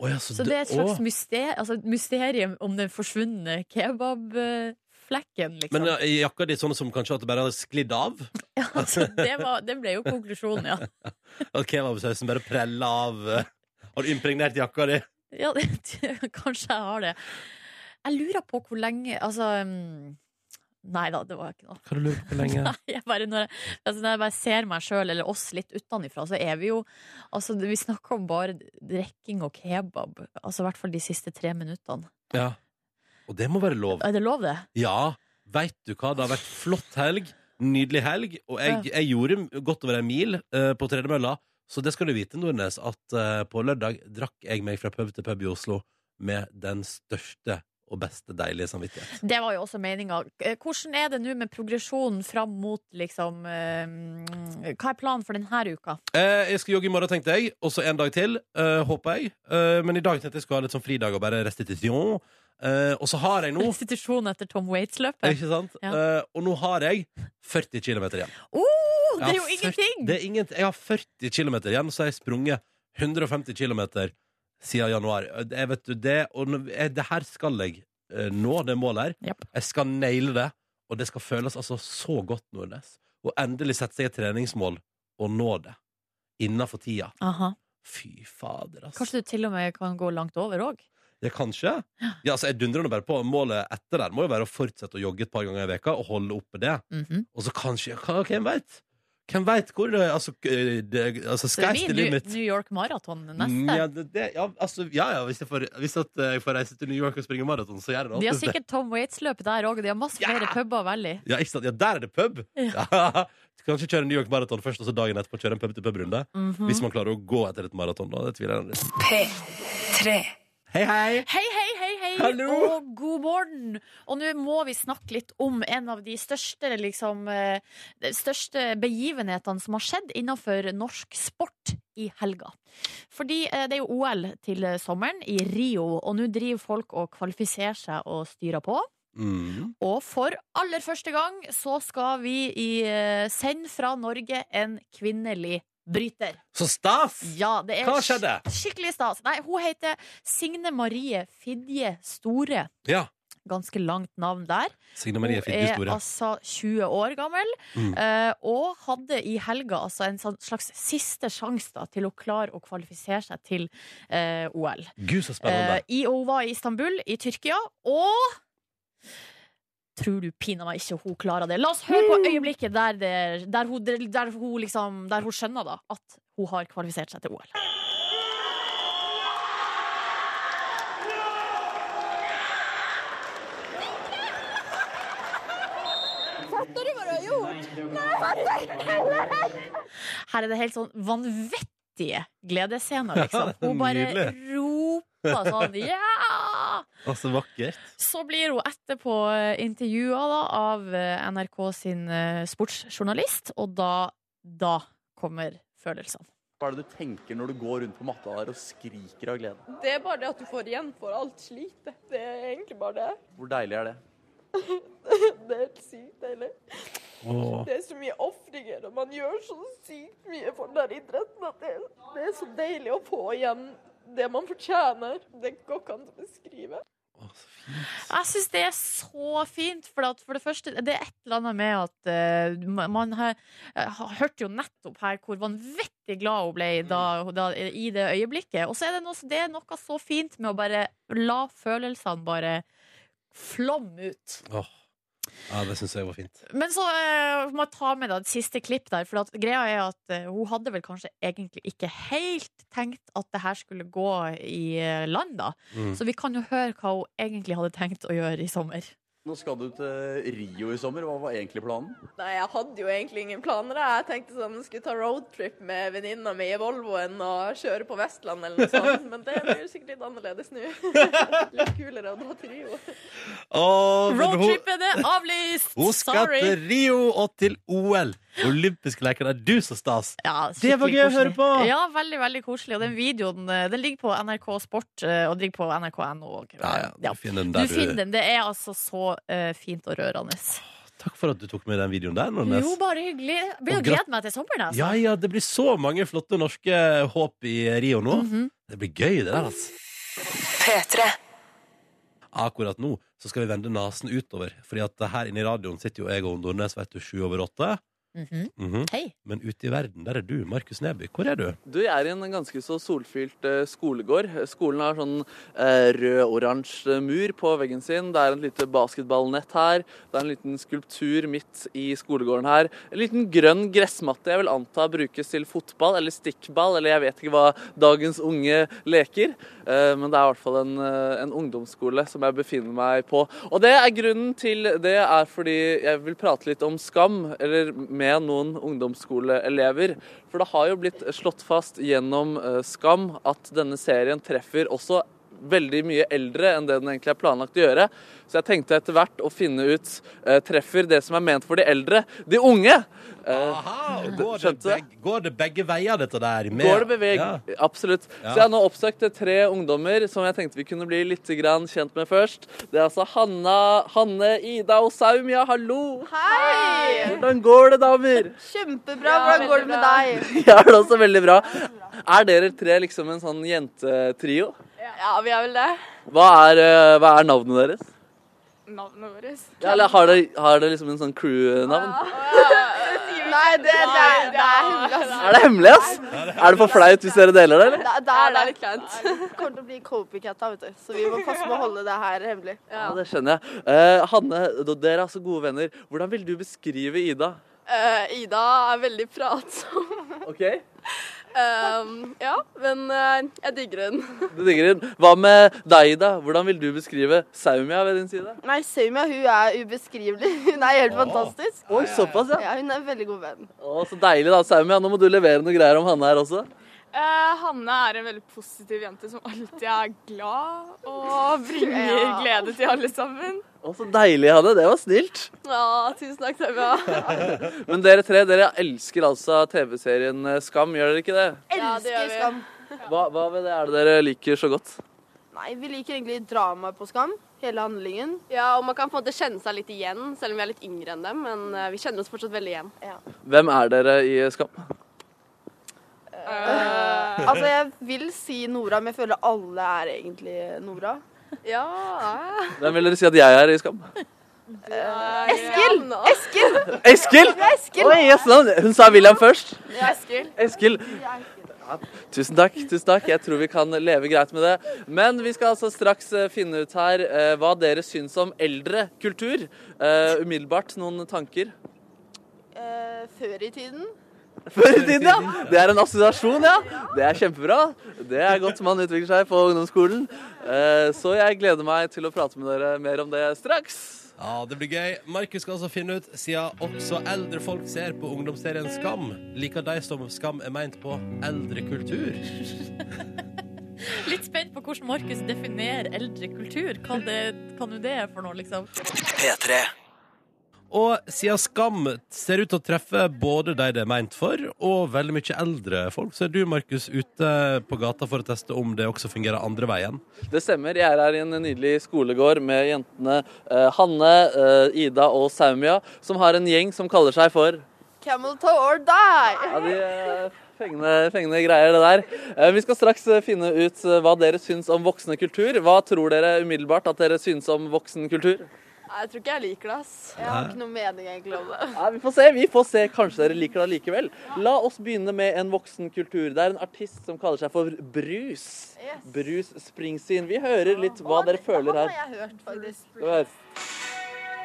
Å, ja, så Så det- det er et slags å. mysterium, altså et mysterium om den forsvunne kebabflekken, liksom. Men ja, i jakka di sånn som kanskje at det bare hadde sklidd av? Altså, det, var, det ble jo konklusjonen, ja. At kebabsausen bare prella av? eh, Har du impregnert jakka di? ja det, kanskje jeg har det. Jeg lurer på hvor lenge Altså mm, Nei da, det var ikke noe. Hva du lurer på lenge? Nei, jeg bare, når, jeg, altså når jeg bare ser meg sjøl eller oss litt utenfra, så er vi jo Altså, vi snakker om bare drikking og kebab. Altså i hvert fall de siste tre minuttene. Ja. Og det må være lov. Er det lov, det? Ja, veit du hva? Det har vært flott helg. Nydelig helg. Og jeg, jeg gjorde godt over en mil eh, på tredemølla. Så det skal du vite, Nordnes, at eh, på lørdag drakk jeg meg fra pub til pub i Oslo med den største og beste deilige samvittighet. Det var jo også meninga. Eh, Hvordan er det nå med progresjonen fram mot liksom eh, mm, Hva er planen for denne uka? Eh, jeg skal jogge i morgen, tenkte jeg. Og så en dag til, eh, håper jeg. Eh, men i dag tenkte jeg skulle ha litt sånn fridag og bare restitusjon. Eh, og så har jeg nå Restitusjon etter Tom Waits-løpet? Ikke sant? Ja. Eh, og nå har jeg 40 km igjen. Oh, det er Jeg jo har ingenting! 40 Det er ingenting. Jeg har 40 km igjen, så har jeg sprunget 150 km siden januar. Eh, Jeg vet du, det, og nå- jeg, det her skal jeg eh, nå, det målet her. Jeg skal naile det, og det skal føles altså så godt, Nordnes. Og endelig sette seg et treningsmål og nå det. Innenfor tida. Aha. Fy fader, altså. Kanskje du til og med kan gå langt over òg? Ja, kanskje. Ja, altså, jeg dundrer nå bare på. Målet etter der må jo være å fortsette å jogge et par ganger i veka og holde oppe det. Mhm. Og så kanskje hva- Hvem veit? Hvem veit hvor det Altså, k- det, altså Så det sky's the blir New, limit. New York Marathon Mm, neste. Ja, det, det, ja, altså, ja, ja hvis, jeg får, hvis at eh, jeg får reise til New York og springe maraton, så gjør jeg det. De har alltid det. sikkert Tom Waits-løp der òg, og de har masse flere puber å velge i. Ja, ikke sant? ja, der er det pub! Ja. Ja. Kanskje kjøre New York Marathon først, og så dagen etterpå kjøre en pub til pub-runde. Mhm. Hvis man klarer å gå etter et maraton, da. Det tviler jeg litt P3 Hei, hei! Hei, hei, hei, hei. Hallo. og god morgen! Og nå må vi snakke litt om en av de største, liksom, eh, de største begivenhetene som har skjedd innenfor norsk sport i helga. Fordi eh, det er jo OL til eh, sommeren i Rio, og nå driver folk og kvalifiserer seg og styrer på. Mm. Og for aller første gang så skal vi i, eh, sende fra Norge en kvinnelig bryter. Så stas! Ja, det er Hva skjedde? sk- Skikkelig stas. Nei, hun heter Signe Marie Fidje Store. Ja. Ganske langt navn der. Signe Marie Hun Fidje er Store. altså 20 år gammel, Mm. eh, og hadde i helga altså en sånn slags siste sjanse da, til å klare å kvalifisere seg til eh, OL. Gud, så spennende. Eh, i, og hun var i Istanbul i Tyrkia, og Tror du pinadø meg ikke hun klarer det? La oss høre på øyeblikket der, det, der, hun, der, hun, liksom, der hun skjønner da, at hun har kvalifisert seg til OL. Fattar du vad du har gjort? Nej, fattar inte heller! Her er det helt sånn vanvittige gledesscener, liksom. Hun bare Nydelig. roper sånn Ja! Altså, vakkert. Så blir hun etterpå intervjua da, av eh, NRK sin eh, sportsjournalist, og da, da kommer følelsene. Hva er det du tenker når du går rundt på matta der og skriker av glede? Det er bare det at du får igjen for alt slitet. Det er egentlig bare det. Hvor deilig er det? Det er helt sykt deilig. Åh. Det er så mye ofringer, og man gjør så sykt mye for den der idretten at det, det er så deilig å få igjen det man fortjener. Det går ikke an å beskrive. Jeg syns det er så fint, for, at for det første Det er et eller annet med at eh, man- man har, jeg har hørte jo nettopp her hvor vanvittig glad hun ble da, da, i det øyeblikket. Og så er det, noe, det er noe så fint med å bare la følelsene bare flomme ut. Åh. Ja, det syns jeg var fint. Men så eh, må jeg ta med da et siste klipp der, for at greia er at eh, hun hadde vel kanskje egentlig ikke helt tenkt at det her skulle gå i eh, land, da. Mm. Så vi kan jo høre hva hun egentlig hadde tenkt å gjøre i sommer. Nå skal du til Rio i sommer. Hva var egentlig planen? Nei, jeg hadde jo egentlig ingen planer. da. Jeg tenkte sånn, jeg skulle ta roadtrip med venninna mi i Volvoen og kjøre på Vestlandet eller noe sånt, men det blir sikkert litt annerledes nå. Litt kulere å dra til Rio. Åh, men hun- Roadtripen er avlyst! Hun skal Sorry! til Rio og til OL. Olympiske leker, det er du så stas. Ja, det var skikkelig gøy å koselig. høre på! Ja, veldig, veldig koselig. Og den videoen eh, den ligger på NRK Sport eh, og den ligger på nrk.no òg. Du finner den Du der du- finner den. Det er altså så eh, fint og rørende. Takk for at du tok med den videoen der. Nordnes. Jo, bare hyggelig. Jeg Og Begynner å grat- glede meg til sommeren. Altså. Ja, ja, det blir så mange flotte norske håp i Rio nå. Mhm. Det blir gøy, det der, altså. Akkurat nå så skal vi vende nesen utover, Fordi at her inne i radioen sitter jo jeg og Nordnes, vet du, sju over åtte. Mhm. Hei. Men ute i verden, der er du, Markus Neby. Hvor er du? Du, jeg er i en ganske så solfylt eh, skolegård. Skolen har sånn eh, rød-oransje mur på veggen sin. Det er en lite basketballnett her. Det er en liten skulptur midt i skolegården her. En liten grønn gressmatte jeg vil anta brukes til fotball eller stikkball, eller jeg vet ikke hva dagens unge leker. Eh, men det er i hvert fall en, eh, en ungdomsskole som jeg befinner meg på. Og det er grunnen til det er fordi jeg vil prate litt om skam, eller med noen ungdomsskoleelever. For det har jo blitt slått fast gjennom eh, Skam at denne serien treffer også veldig mye eldre enn det den egentlig er planlagt å gjøre. Så jeg tenkte etter hvert å finne ut eh, treffer det som er ment for de eldre, de unge. Eh, Går det, beg, går det begge veier, dette der? med- Går det beveg? Ja. Absolutt. Ja. Så jeg har nå oppsøkt tre ungdommer som jeg tenkte vi kunne bli litt grann kjent med først. Det er altså Hanna, Hanne, Ida og Saumia. Hallo! Hei! Hvordan går det, damer? Kjempebra. Hvordan går det med deg? Jeg har det også veldig bra. Er dere tre liksom en sånn jentetrio? Ja, vi er vel det. Hva er, eh, hva er navnet deres? Navnet vårt. Ah, Ja, eller har dere, har dere liksom en sånn crew-navn? Nei, det, det, er- det er hemmelig. ass. Er det hemmelig, ass? Er det for flaut hvis dere deler det, eller? Det, det er litt kleint. Det kommer til å bli copycat, da, vet du. Så vi må passe på å holde det her hemmelig. Ja, det skjønner jeg. Eh, Hanne, d- dere er altså gode venner. Hvordan vil du beskrive Ida? Eh, Ida er veldig pratsom. Ok. Um, ja, men eh, jeg digger hun. Du digger hun. Hva med deg, Ida? Hvordan vil du beskrive Saumia ved din side? Nei, Saumia, hun er ubeskrivelig. Hun er helt fantastisk. Oi, såpass, ja. Ja, hun er en veldig god venn. Å, så deilig da, Saumia. Nå må du levere noen greier om Hanne her også. Eh, Hanne er en veldig positiv jente som alltid er glad og bringer Ja. glede til alle sammen. Å, så deilig, Hanne. Det var snilt. Ja, tusen takk, Saumia. Men dere tre, dere elsker altså TV-serien eh, Skam, gjør dere ikke det? Ja, det gjør vi. Skam. Hva, hva ved det er det dere liker så godt? Nei, vi liker egentlig drama på Skam. Hele handlingen. Ja, og man kan på en måte kjenne seg litt igjen, selv om vi er litt yngre enn dem. Men eh, vi kjenner oss fortsatt veldig igjen. Hvem er dere i Skam? Altså, jeg vil si Nora, men jeg føler alle er egentlig Nora. Ja. Hvem vil dere si at jeg er i Skam? Eskil! Eskil! Eskil! Ja, Eskil. Oi, jøss, navn. Hun sa William først. Eskil. Eskil. Tusen takk. tusen takk. Jeg tror vi kan leve greit med det. Men vi skal altså straks eh, finne ut her eh, hva dere syns om eldre kultur. Eh, umiddelbart noen tanker? Eh, før i tiden. Før i tiden, ja! Det er en assosiasjon, ja. Det er kjempebra. Det er godt man utvikler seg på ungdomsskolen. Eh, Så jeg gleder meg til å prate med dere mer om det straks. Ja, det blir gøy. Markus skal altså finne ut, siden også eldre folk ser på ungdomsserien Skam, liker de som Skam er meint på eldre kultur. Litt spent på hvordan Markus definerer eldre kultur. Hva det, kan jo det er for noe, liksom? P3. Og siden Skam ser ut til å treffe både de det er meint for, og veldig mye eldre folk, så er du, Markus, ute på gata for å teste om det også fungerer andre veien. Det stemmer. Jeg er her i en nydelig skolegård med jentene eh, Hanne, eh, Ida og Saumia, som har en gjeng som kaller seg for Camel toe or die! Ja, de er fengende, fengende greier, det der. Eh, Vi skal straks eh, finne ut eh, hva dere syns om voksende kultur. Hva tror dere umiddelbart at dere syns om voksen kultur? Nei, Jeg tror ikke jeg liker det, ass. Jeg har ikke noe mening egentlig om det. Nei, vi får se. Vi får se. Kanskje dere liker det likevel. La oss begynne med en voksen kultur. Det er en artist som kaller seg for Brus. Brus Springsteen. Vi hører litt hva dere føler her. har jeg hørt, faktisk. Skal vi høre.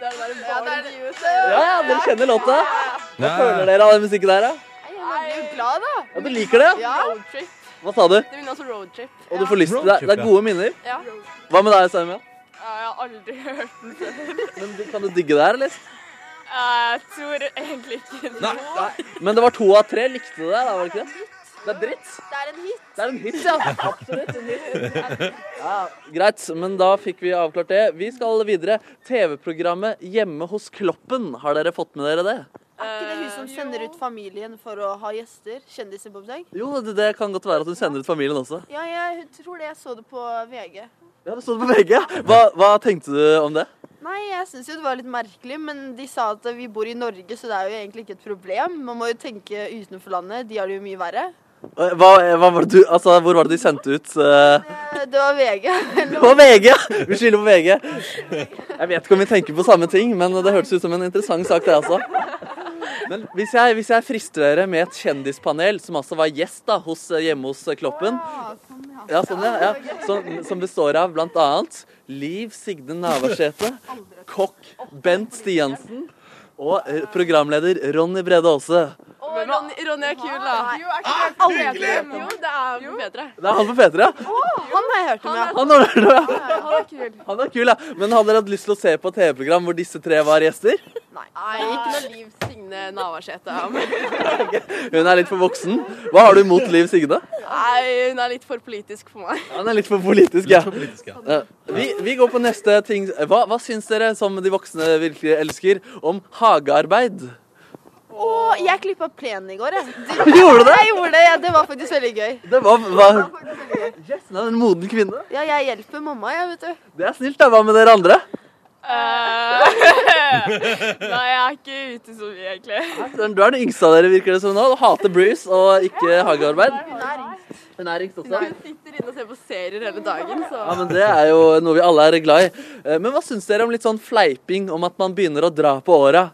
Det er det der bare de USA. Ja, ja, dere kjenner låta? Hva Ja. føler dere av den musikken der, da? Jeg blir jo glad, da. Ja, du liker det? Ja. Roadtrip. Hva sa du? Det minner også roadtrip. Og du får lyst til det. Det er gode minner. Ja. Hva med deg, Samuel? Ja, jeg har aldri hørt den før. Men du- Kan du digge det her, eller? Jeg tror egentlig ikke det. Men det var to av tre likte det, da, var det ikke det? Det er dritt. Det er en hit. Det er en hit, ja. Absolutt en hit. Ja, greit, men da fikk vi avklart det. Vi skal videre. TV-programmet Hjemme hos Kloppen, har dere fått med dere det? Er ikke det hun som Eh, sender ut familien for å ha gjester? Kjendiser på oppdrag? Jo, det, det kan godt være at hun sender ut familien også. Ja, jeg tror det. Jeg så det på VG. Ja, det stod på begge. Hva, hva tenkte du om det? Nei, jeg syns jo det var litt merkelig, men de sa at vi bor i Norge, så det er jo egentlig ikke et problem. Man må jo tenke utenfor landet. De har det jo mye verre. Hva, hva var det du, altså, hvor var det de sendte ut? eh, Eh, Det var VG. Det var VG, ja! Vi skylder på VG. Jeg vet ikke om vi tenker på samme ting, men det hørtes ut som en interessant sak, det også. Men hvis jeg, hvis jeg frister dere med et kjendispanel, som altså var gjest da, hos, eh, hjemme hos Kloppen Ja, sånn, ja. ja. Som, som består av blant annet Liv Signe Navarsete, kokk Bent Stiansen og eh, programleder Ronny Brede Aase. Og Ron, Ronny er kul, da. Ah, Jo, er ikke det bedre? Jo, det er bedre. Det er han på P3, ja? Han har jeg hørt om, ja. Han har du hørt om, ja. Han er kul. Han er kul, ja. Men hadde dere hatt lyst til å se på et TV-program hvor disse tre var gjester? Nei, ikke noe Liv Signe Navarsete. Hun er litt for voksen. Hva har du imot Liv Signe? Nei, hun er litt for politisk for meg. Han er litt for politisk, ja. Ja. Vi, vi går på neste ting. Hva, hva syns dere, som de voksne virkelig elsker, om hagearbeid? Å, jeg klippa plenen i går, jeg. Gjorde du det? Jeg gjorde det, ja. Det var faktisk veldig gøy. Det var, var Yes, det er en moden kvinne. Ja, jeg hjelper mamma, jeg, vet du. Det er snilt, da. Hva med dere andre? Nei, jeg er ikke ute så mye, egentlig. Du er den yngste av dere, virker det som nå. Du hater Bruce og ikke hagearbeid. Hun er yngst også. Hun sitter inne og ser på serier hele dagen, så Ja, men Det er jo noe vi alle er glad i. Eh, Men hva syns dere om litt sånn fleiping om at man begynner å dra på åra?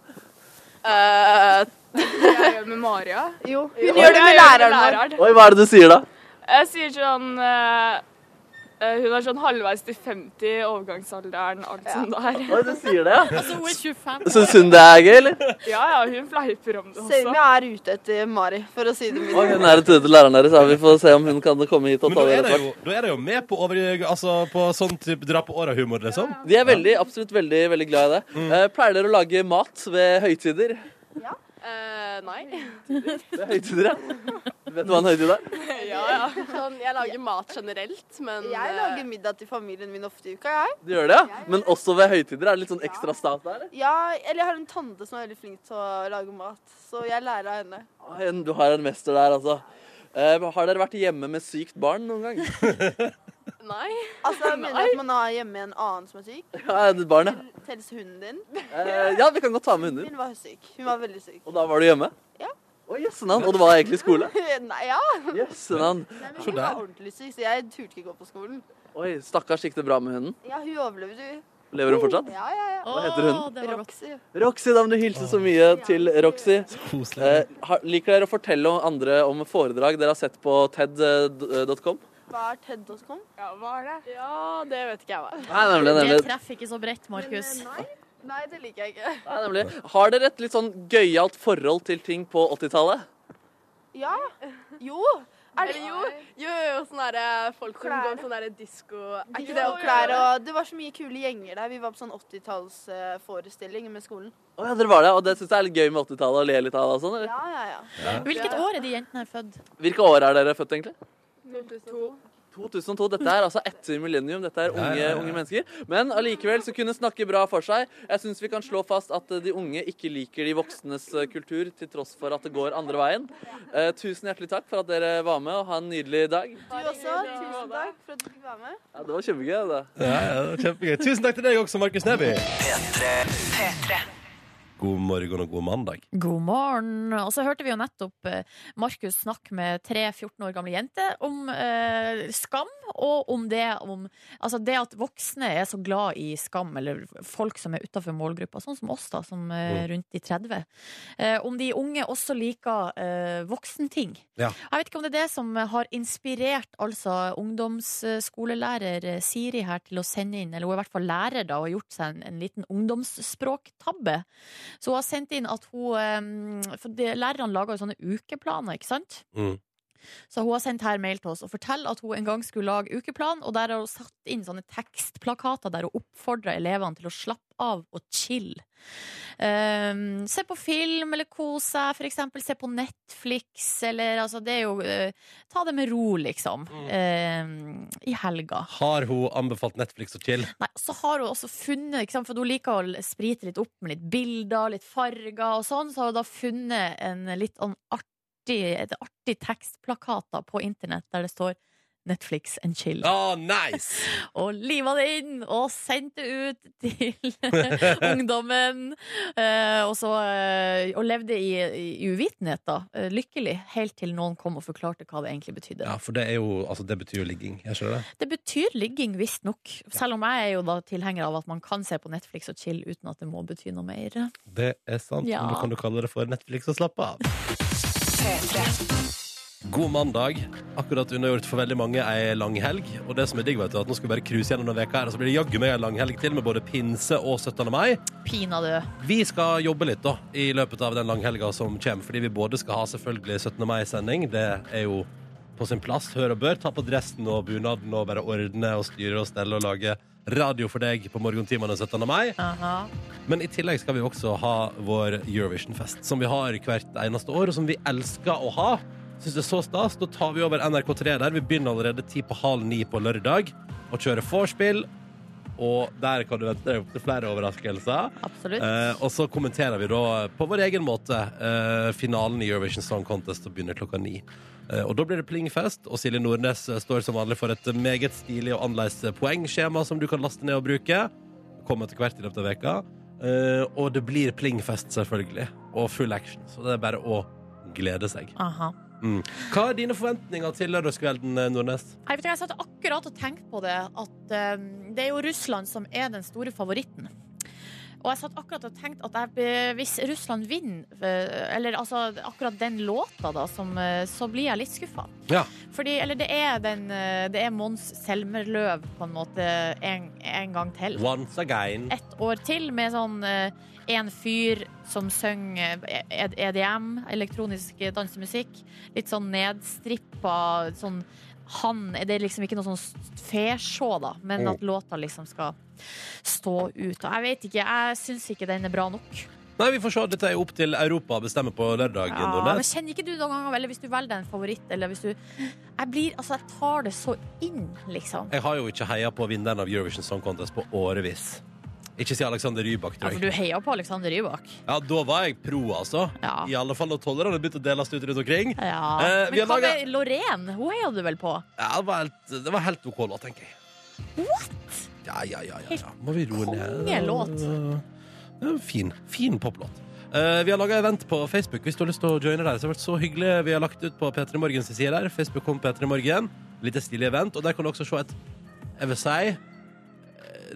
Jeg gjør med Maria. Jo, hun gjør det med læreren Oi, hva er det du sier da? Jeg sier sånn eh, eh, Hun er sånn halvveis til 50, overgangsalderen, alt sånt der. Oi, du sier det, ja. Altså, hun er 25. Syns hun det er gøy, eller? Ja, ja, hun fleiper om det også. Saumia er ute etter Mari, for å si det Oi, mildt. hun er et ute læreren deres, så vi får se om hun kan komme hit og Men ta da er dere det etter jo, hvert. da er det jo med på, over, altså, på sånn type dra på åra-humor, liksom. De er veldig, absolutt veldig veldig glad i det. Mm. Eh, pleier dere å lage mat ved høytider? Eh, nei. Ved høytider, ja. Vet du hva en høytid er? Ja, ja. Sånn, jeg lager mat generelt, men eh, Jeg lager middag til familien min ofte i uka, jeg. Du gjør det, ja? Men også ved høytider er det litt sånn ekstra stas der? Ja, eller jeg har en tante som er veldig flink til å lage mat, så jeg lærer av henne. Oi, en- Du har en mester der, altså. Eh, har dere vært hjemme med sykt barn noen gang? Nei. Altså, jeg mener at man har hjemme en annen som er syk. Ja, det er barn, ja. Telles hunden din? Eh, ja, vi kan godt ta med hunder. Hun var syk. Hun var veldig syk. Og da var du hjemme? Ja. Oi, jøssenavn. Og det var egentlig skole? Nei, ja. Jøssenavn. Nei, men hun var ordentlig syk, så jeg turte ikke gå på skolen. Oi, stakkars gikk det bra med hunden? Ja, hun overlevde, hun. Lever hun fortsatt? Ja, ja, ja. Hva heter hunden? Det var Roxy. Roxy, da må du hilse så mye til Roxy. Eh, har- liker dere å fortelle om andre om foredrag dere har sett på eh, ted.com? Hva er TED.com? Ja, hva er det? Ja, det vet ikke jeg hva er. Nei, nemlig, nemlig. Det treffer ikke så bredt, Markus. Nei, det liker jeg ikke. Nei, nemlig. Har dere et litt sånn gøyalt forhold til ting på 80-tallet? Ja. Jo. Er det jo? Jo, jo, jo, sånn derre folk som Klær. går med sånn derre disko Er Jo, ikke det jo, også klær klær og Det var så mye kule gjenger der. Vi var på sånn 80-tallsforestilling med skolen. Å ja, dere var det, og det syns jeg er litt gøy med 80-tallet og le litt av det og sånn, eller? Ja, ja, ja. Ja. Hvilket år er de jentene her født? Hvilke år er dere født, egentlig? 2002. 2002. Dette er altså etter millennium. Dette er unge, unge mennesker. Men allikevel så kunne snakke bra for seg. Jeg syns vi kan slå fast at eh, de unge ikke liker de voksnes eh, kultur, til tross for at det går andre veien. Eh, tusen hjertelig takk for at dere var med, og ha en nydelig dag. Du også. Tusen takk for at du fikk være med. Ja, det var kjempegøy, det. Ja, ja, det var kjempegøy. Tusen takk til deg også, Markus Neby. God morgen og god mandag. God morgen. Og så hørte vi jo nettopp eh, Markus snakke med tre 14 år gamle jenter om eh, skam, og om det, om, altså det at voksne er så glad i skam, eller folk som er utafor målgruppa, sånn som oss, da, som eh, Mm. rundt de 30. Eh, om de unge også liker eh, voksenting. Ja. Jeg vet ikke om det er det som har inspirert altså, ungdomsskolelærer eh, Siri her til å sende inn, eller hun er i hvert fall lærer da, og har gjort seg en, en liten ungdomsspråktabbe. Så hun har sendt inn at hun eh, For det- lærerne lager jo sånne ukeplaner, ikke sant? Så hun har sendt her mail til oss og forteller at hun en gang skulle lage ukeplan, og der har hun satt inn sånne tekstplakater der hun oppfordrer elevene til å slappe av og chill. Ehm, se på film eller kos seg, for eksempel se på Netflix, eller altså det er jo eh, Ta det med ro, liksom. Ehm, I helga. Har hun anbefalt Netflix og chill? Nei, så har hun også funnet, ikke sant, for hun liker å sprite litt opp med litt bilder, litt farger og sånn, så har hun da funnet en litt sånn artig, et artig tekstplakater på internett der det står Netflix and chill. Ah, nice! og liva det inn og sendte ut til ungdommen. Eh, og, så, eh, og levde i, i uvitenhet, da. eh, lykkelig. Helt til noen kom og forklarte hva det egentlig betydde. Ja, for det er jo Altså, det betyr jo ligging. Jeg skjønner det. Det betyr ligging, visstnok. Selv om jeg er jo da tilhenger av at man kan se på Netflix og chill uten at det må bety noe mer. Det er sant. Ja. Men da kan du kalle det for Netflix og slappe av. God mandag. Akkurat unnagjort for veldig mange ei lang helg. Og det som er digg, vet du, at nå skal vi bare cruise gjennom denne veka her, og så blir det jaggu meg ei lang helg til med både pinse og 17. mai. Pinadø. Vi skal jobbe litt da, i løpet av den langhelga som kommer, fordi vi både skal ha selvfølgelig 17. mai-sending. Det er jo på sin plass, hør og bør. Ta på dressen og bunaden og bare ordne og styre og stelle og lage radio for deg på morgentimene 17. mai. Men i tillegg skal vi også ha vår Eurovision-fest, som vi har hvert eneste år, og som vi elsker å ha. Syns det er så stas. Da tar vi over NRK3 der. Vi begynner allerede ti på halv ni på lørdag og kjører vorspiel. Og der kan du vente deg opp til flere overraskelser. Absolutt. Eh, og så kommenterer vi da på vår egen måte eh, finalen i Eurovision Song Contest og begynner klokka ni. Eh, og da blir det plingfest, og Silje Nordnes eh, står som vanlig for et meget stilig og annerledes eh, poengskjema som du kan laste ned og bruke. Kommer etter hvert i løpet av veka. Eh, og det blir plingfest, selvfølgelig. Og full action. Så det er bare å glede seg. Aha. Mm. Hva er dine forventninger til lørdagskvelden, eh, Nordnes? Jeg, vet, ikke, jeg satt akkurat og tenkte på det, at eh, det er jo Russland som er den store favoritten. Og jeg satt akkurat og tenkte at jeg, be- hvis Russland vinner, eh, eller altså akkurat den låta, da, som, eh, så blir jeg litt skuffa. Ja. Fordi, eller det er, den, eh, det er Mons Selmerløv, på en måte, en, en gang til. Once again. ett år til med sånn eh, en fyr som synger eh, EDM, elektronisk dansemusikk. Litt sånn nedstrippa sånn han Det er liksom ikke noe sånn fesjå, da, men Mm. at låta liksom skal stå ut. Og jeg vet ikke, jeg syns ikke den er bra nok. Nei, vi får se. Dette er jo opp til Europa å bestemme på lørdag, Ja, Ah, men Nordnes. kjenner ikke du noen ganger, eller hvis du velger deg en favoritt, eller hvis du Jeg blir Altså, jeg tar det så inn, liksom. Jeg har jo ikke heia på vinneren av Eurovision Song Contest på årevis. Ikke siden Alexander Rybak, Ja, tror for jeg. du heier på Alexander Rybak. Ja, Da var jeg pro, altså. I alle fall når tollerne begynte å deles ut rundt omkring. Ja. Eh, vi Men har hva laget- med Lorraine? Hun heier du vel på? Ja, det, var helt, det var helt OK låt, tenker jeg. What?! Ja, ja, ja. ja, ja. Må vi roe ned Kongelåt. Det er en Fin, fin poplåt. Eh, vi har laga event på Facebook. Hvis du har lyst til å joine der, så har det vært så hyggelig. Vi har lagt ut på P3 Morgens side der. Facebook kom P3 Morgen. Lite stilig event. Og der kan du også se et, jeg vil si, eh,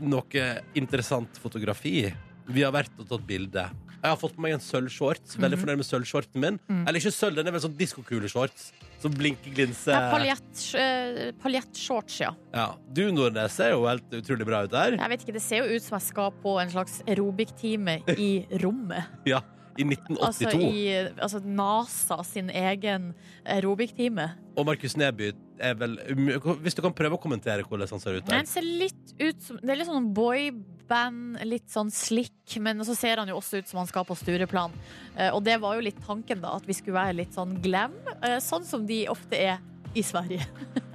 noe interessant fotografi. Vi har vært og tatt bilde. Jeg har fått på meg en sølvshorts. Veldig Mhm. fornøyd med sølvshorten min. Mm. Eller ikke sølv, den er vel sånn diskokuleshorts. Sånn Som blinker, glinser. Ja, paljett- eh, Paljettshorts, ja. Ja, Du, Nordnes, ser jo helt utrolig bra ut der. Jeg vet ikke, Det ser jo ut som jeg skal på en slags aerobic-time i rommet. Ja, I 1982. Altså i altså NASA sin egen aerobic-time. Og Markus Neby er vel umu- Hvis du kan prøve å kommentere hvordan han ser ut Men der. han ser litt ut som Det er litt sånn boyband, litt sånn slick, men så ser han jo også ut som han skal på Stureplan. Eh, Og det var jo litt tanken, da, at vi skulle være litt sånn glam, eh, sånn som de ofte er i Sverige.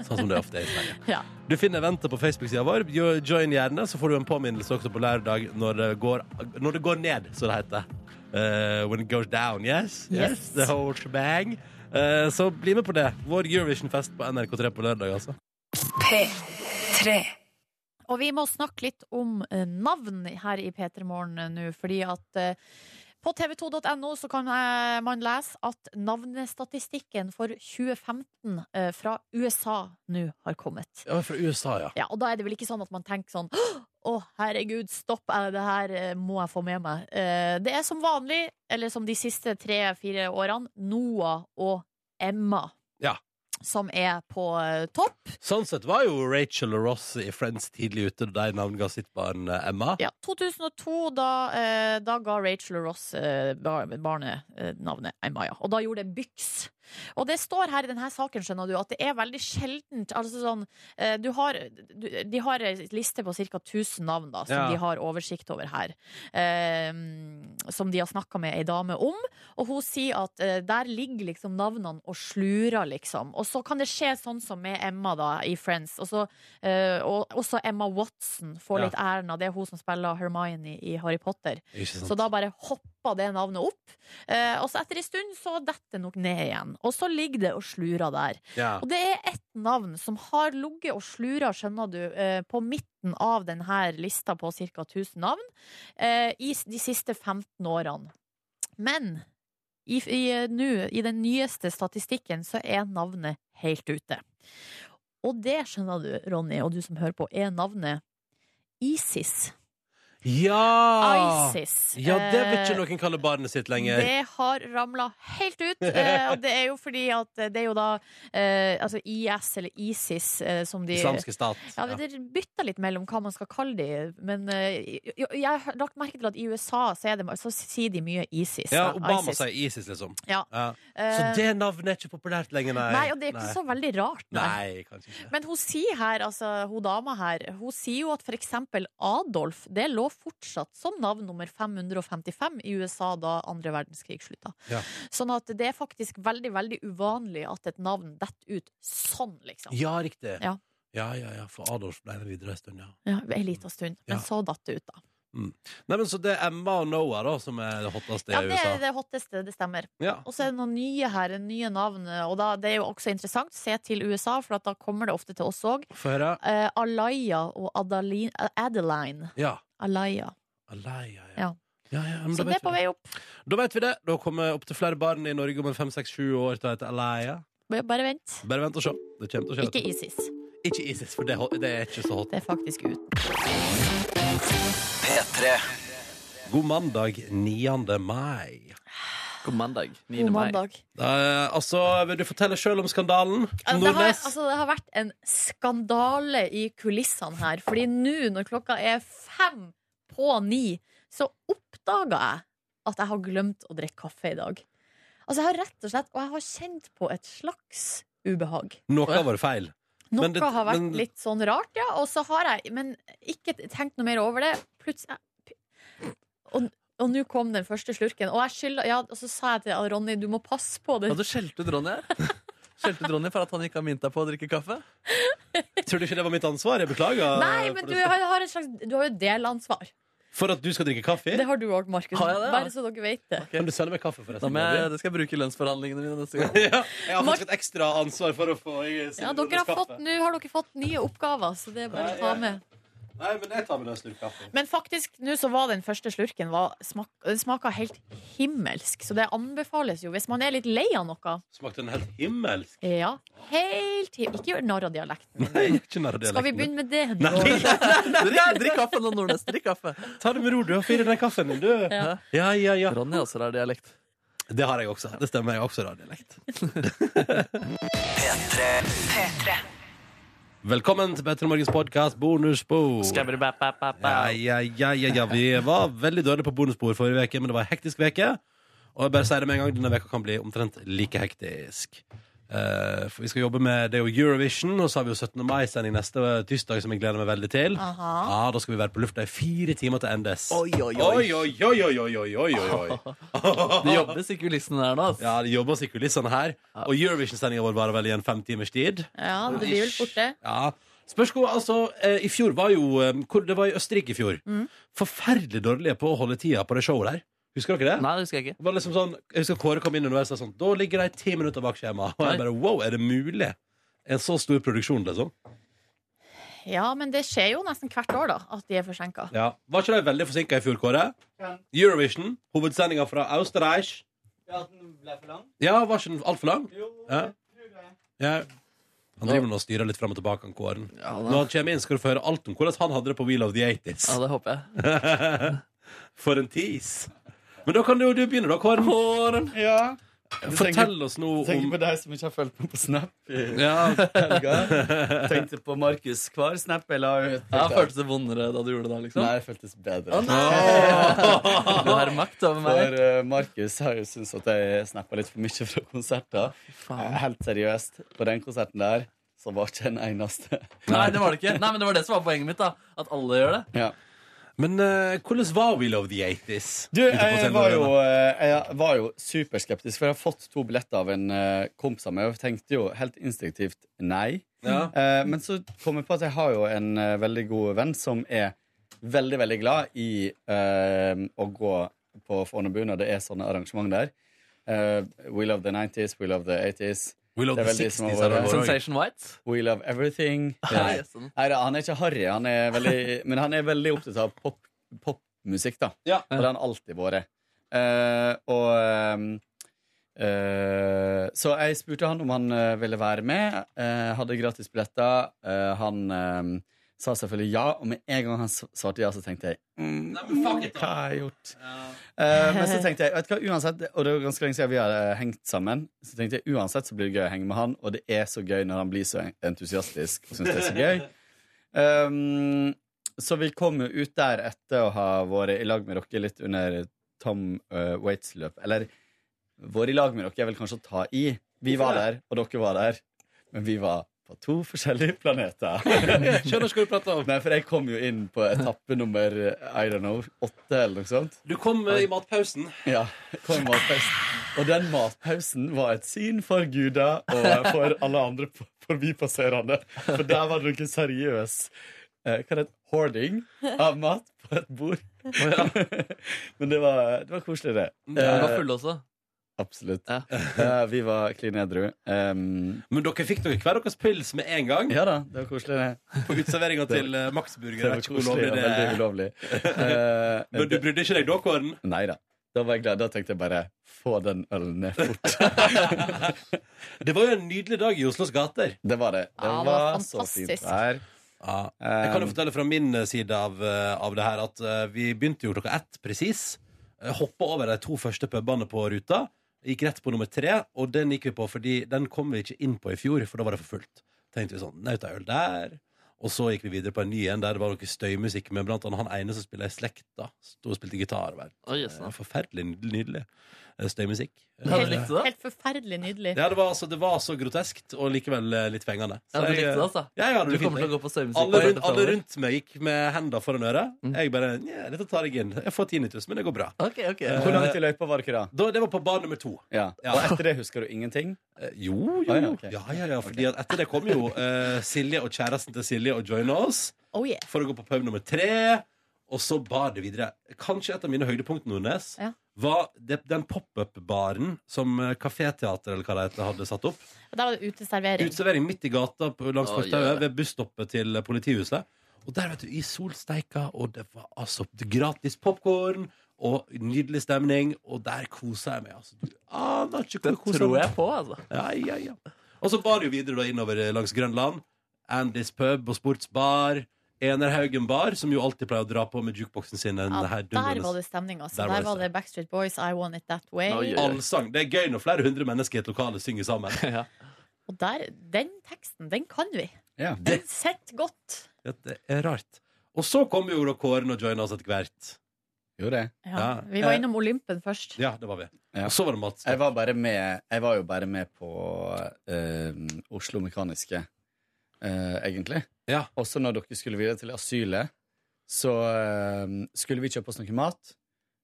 Sånn som det ofte er i Sverige. Ja. Du finner eventet på Facebook-sida vår. Jo- Join gjerne, så får du en påminnelse også på lørdag når det går, når det går ned, så det heter. Eh, when it goes down, yes? Yes. Yes. The whole shebang. Eh, så bli med på det. Vår Eurovision-fest på NRK3 på lørdag, altså. P3. Og vi må snakke litt om eh, navn her i P3 Morgen eh, nå, fordi at eh, på tv2.no så kan eh, man lese at navnestatistikken for 2015 eh, fra USA nå har kommet. Ja, fra USA, ja. Ja, og da er det vel ikke sånn at man tenker sånn Å, herregud, stopp, er det det her eh, må jeg få med meg. Eh, Det er som vanlig, eller som de siste tre-fire årene, Noah og Emma Ja. som er på eh, topp. Sånn sett var jo Rachel og Ross i Friends tidlig ute da de navnga sitt barn eh, Emma. 2002, da, eh, da ga Rachel og Ross eh, bar- barnet eh, navnet Emma, ja. Og da gjorde det byks. Og det står her i denne saken, skjønner du, at det er veldig sjeldent altså sånn, eh, du har, du, De har ei liste på ca. 1000 navn da, som Ja. de har oversikt over her. Eh, som de har snakka med ei dame om. Og hun sier at eh, der ligger liksom navnene og slurer, liksom. Og så kan det skje sånn som med Emma da, i Friends. Og så, eh, og også Emma Watson får Ja. litt æren av det. er Hun som spiller Hermione i Harry Potter. Ikke sant. Så da bare hoppa det navnet opp. Eh, og så etter en stund så detter det nok ned igjen. Og så ligger det og slurer der. Ja. Og det er ett navn som har ligget og slura, skjønner du, eh, på midten av denne lista på ca. 1000 navn eh, i s- de siste 15 årene. Men i, i, eh, nå, i den nyeste statistikken så er navnet helt ute. Og det skjønner du, Ronny, og du som hører på, er navnet ISIS. Ja! ISIS. Ah. Ja, det vil Eh, ikke noen kalle barnet sitt lenger. Det har ramla helt ut. eh, Og det er jo fordi at det er jo da eh, altså IS, eller ISIS, eh, som de Islamske stat, Ja, ja. det bytter litt mellom hva man skal kalle de. Men eh, jeg jeg har lagt merke til at i USA så, er det, så sier de mye ISIS. Ja, da, Obama ISIS. sier ISIS, liksom. Ja. Så Eh, det navnet er ikke populært lenger, nei. Nei, og det er ikke Nei. så veldig rart. Nei, kanskje ikke. Men hun sier her, altså hun dama her, hun sier jo at for eksempel Adolf, det lå fortsatt som navn nummer 555 i USA da andre verdenskrig slutta. Ja. Sånn at det er faktisk veldig, veldig uvanlig at et navn detter ut sånn, liksom. Ja, riktig. Ja. ja, ja, ja, for Adolf ble med videre en stund, ja. Ja, en liten stund. Men Ja. så datt det ut, da. Mm. Nei, men Så det er Emma og Noah da som er det hotteste Ja, i det USA? er det hotteste, det stemmer. Ja. Og så er det noen nye her, nye navn, og da, det er jo også interessant. Se til USA, for at da kommer det ofte til oss òg. Få høre. Eh, Alaya og Adeline, Adeline. Ja. Alaya. Alaya, ja. Ja. ja, ja men Så da det vet er på vi vei det. opp. Da vet vi det. Da kommer opptil flere barn i Norge om en fem, seks, sju år til å hete Alaya. Bare bare vent. Bare vent og se. Det kommer til å skje. Ikke ISIS. Ikke ISIS, for det, er hot- det er ikke så hot. Det er faktisk ut. P3. God mandag 9. mai. God mandag. God mandag. Eh, altså, vil du fortelle sjøl om skandalen? Altså, det, har, Nordnes? altså, det har vært en skandale i kulissene her. Fordi nå, når klokka er fem på ni, så oppdaga jeg at jeg har glemt å drikke kaffe i dag. Altså, jeg har rett og slett Og jeg har kjent på et slags ubehag. Noe har vært feil. Noe Men det- har vært men- litt sånn rart, ja. Og så har jeg Men ikke tenkt noe mer over det. Plutselig Og og nå kom den første slurken. Og, jeg skylder, ja, og så sa jeg til Ronny du må passe på det. Hadde du skjelt ut Ronny her? Skjelte ut Ronny for at han ikke har mint deg på å drikke kaffe? Tror du ikke det var mitt ansvar? Jeg beklager. Nei, men du har, har et slags, du har jo delansvar. For at du skal drikke kaffe? Det har du òg, Markus. Har jeg det, ja? Bare så dere vet det. Kan du selge meg kaffe, forresten? Da må jeg- det skal jeg bruke i lønnsforhandlingene mine neste gang. ja, jeg har faktisk et ekstra ansvar for å få jeg- Ja, dere har fått, nå har dere fått nye oppgaver, så det er bare å ta med. Nei, men jeg tar med deg en slurk kaffe. Men faktisk, nå så var den første slurken var, smak, Den smaka helt himmelsk, så det anbefales jo hvis man er litt lei av noe. Smakte den helt himmelsk? Ja, helt him Ikke gjør narr av dialekten. Nei, jeg er ikke nær dialekten. Skal vi begynne med det? Nei. nå? Drikk, drikk kaffe nå, Nordnes. Drikk kaffe. Ta det med ro, du. og Fyr i den kaffen din, du. Ja. Ja, ja, ja. Ronny også har dialekt. Det har jeg også. Det stemmer. Jeg har også radiolekt. Velkommen til Petter Morgens podkast Bonusspor. Ja, ja, ja, ja, ja. Vi var veldig dårlige på bonusspor forrige uke, men det var en hektisk uke. Og jeg bare sier det med en gang, denne veka kan bli omtrent like hektisk. Eh, for vi skal jobbe med det er jo Eurovision, og så har vi jo 17. mai-sending neste Eh, tirsdag, som jeg gleder meg veldig til. Aha. Ja, Da skal vi være på lufta i fire timer til NDS. Oi, oi, oi, oi. oi, oi, oi, oi, oi, oi, oi. Det jobbes i kulissene der nå. ass. Ja, det jobbes i kulissene sånn her. Og Eurovision-sendinga vår varer vel i en fem timers tid. Ja, det blir vel fort det. Ja. Spørs hvor, altså, eh, I fjor var jo eh, hvor, Det var i Østerrike i fjor. Mm. Forferdelig dårlige på å holde tida på det showet der. Husker dere det? Nei, det husker Jeg ikke Det var liksom sånn, jeg husker Kåre kom inn underveis og sa sånn Da ligger de ti minutter bak skjema. Og jeg bare wow, er det mulig? En så stor produksjon, liksom. Ja, men det skjer jo nesten hvert år, da, at de er forsinka. Ja. Var ikke de veldig forsinka i fjor, Kåre? Ja. Eurovision, hovedsendinga fra Austerreich. Ja, at den ble for lang? Ja, var ikke den altfor lang? Jo, ja. tror det. Ja. Han driver nå og styrer litt fram og tilbake, han Kåren. Når han kommer inn, skal du få høre alt om hvordan han hadde det på Wheel of the 80s. Ja, det håper jeg. For en tease. Men da kan du, du begynne, da, Kåren. Ja. Fortell oss nå om Tenker om på deg som ikke har fulgt med på Snap i Ja. helga. Tenkte på Markus hver Snap jeg la ut. Ja, føltes det vondere da du gjorde det? da, liksom? Nei, det føltes bedre. Å, nei! Du har makt over meg. For eh, Markus har jo syntes at jeg snappa litt for mye fra konserter. Eh, Helt seriøst, på den konserten der så var ikke en eneste. Nei, det var det ikke. Nei, men det var det som var poenget mitt. da At alle gjør det. Ja. Men eh, hvordan var Wheel of the 80s? Du, Ute på jeg scenen var der jo, inne. eh, jeg var jo superskeptisk, for jeg har fått to billetter av en eh, kompis av meg, og jeg tenkte jo helt instinktivt nei. Ja. Eh, Men så kom jeg på at jeg har jo en eh, veldig god venn som er veldig, veldig glad i eh, å gå på Fornebu når det er sånne arrangement der. Eh, we love the 90s, we love the 80s. We love Det er the veldig som har 60s, vært- er det vår også. Sensation White. We love everything. Nei. Nei, Neida, han er ikke harry, han er veldig, men han er veldig opptatt av pop- popmusikk, da. Og det har han alltid vært. Eh, og ehm, eh, Så jeg spurte han om han eh, ville være med. Eh, hadde gratisbilletter. Uh, han ehm, sa selvfølgelig ja, og med en gang han s- svarte ja, så tenkte jeg mm, Hva har jeg gjort? Eh, men så tenkte jeg, vet du hva, uansett Og det var ganske lenge siden vi hadde hengt sammen Så tenkte jeg, uansett så blir det gøy å henge med han Og det er så gøy når han blir så entusiastisk Og synes det er så gøy Ehm, Så vi kom jo ut der etter å ha vært i lag med dere Litt under Tom eh, Waits løp Eller, vår i lag med dere er vel kanskje å ta i Vi var der, og dere var der Men vi var på to forskjellige planeter Skjønner ikke hva du prater om sånn Nei, for jeg kom jo inn på etappe nummer eh, I don't know, åtte eller noe sånt Du kom eh, i matpausen. ja, kom matpausen. Og den matpausen var et syn for guda og for alle andre p- forbipasserende. For der var det noe seriøs eh, Hva er det? Hoarding av mat på et bord. Men det var, det var koselig, det. Ja, vi var Eh, fulle også. Absolutt. Eh, vi var klin edru. Men dere fikk dere hver deres pils med en gang? Ja da, det var koselig, det. På utserveringa Det var- til uh, Max Det Burger. var Jeg vet ikke hvor koselig lovlig og det veldig er. ulovlig. Eh, Men du brydde ikke deg da, Kåren? Nei da. Da var jeg glad. Da tenkte jeg bare få den ølen ned fort. Det var jo en nydelig dag i Oslos gater. Det var det. Det Ja, det var var så fint fantastisk. vær. Ja. Jeg kan jo fortelle fra min eh, side av, eh, av det her at eh, vi begynte jo klokka ett presis. Eh, Hoppa over de to første pubene på ruta. Gikk rett på nummer tre, og den gikk vi på fordi den kom vi ikke inn på i fjor, for da var det for fullt. Tenkte vi sånn, nauta øl der. Og så gikk vi videre på en ny en der det var noe støymusikk med blant annet han ene som spiller i slekta. Stod og spilte gitar. og var, Oi, jøss, da. eh, Forferdelig nydelig eh, støymusikk. Helt, Eh, helt forferdelig nydelig. ja, det var, altså, det var så groteskt og likevel eh, litt fengende. Ja, Så du jeg, likte det, altså? Ja, ja, det Du var fint, kommer til å jeg. gå på støymusikk alle, på Mm. rundt, dette alle fremover. rundt meg gikk med hendene foran øret. Jeg bare Nja, dette tar jeg inn. Jeg får tinnitus, men det går bra. Hvor langt i løypa var dere da? Da, det var på bar nummer to. Ja. Ja. Og etter det husker du ingenting? Jo, jo, Ah, ja, jo. ok. Ja, ja, ja, fordi at etter det kom jo eh, Silje og kjæresten til Silje og joina oss Oh yeah. for å gå på pub nummer tre. Og så bar det videre. Kanskje et av mine høydepunkt, Nordnes, Ja. var det, den pop-up-baren som eh, Kaféteater eller hva det heter, hadde satt opp. Og der var det uteservering. Utservering midt i gata på- langs Å, fortauet gjør det. ved busstoppet til politihuset. Og der, vet du, i solsteika, og det var altså gratis popkorn og nydelig stemning, og der kosa jeg meg, altså. Du aner ikke hvor jeg kosa tror meg. jeg på, altså. Ja, ja, ja. Og så bar det jo videre da innover eh, langs Grønland. Andys pub og sportsbar. Enerhaugen bar, som jo alltid pleier å dra på med jukeboksen sin. En Ja, her der dundrende- var det stemning, altså. Der var Der det var det Backstreet Boys, I Want It That Way. Allsang. Det er gøy når flere hundre mennesker i et lokale synger sammen. Og der, den teksten, den kan vi. Ja. Den sitter godt. Det er rart. Og så kom jo da Kåren og joina oss etter hvert. Jo, det. Ja. Vi var innom Olympen først. Ja, det var vi. Og så var det Mats. Jeg var, bare med, jeg var jo bare med på eh, Oslo Mekaniske, eh, egentlig. Også når dere skulle videre til asylet, så eh, skulle vi kjøpe oss noe mat.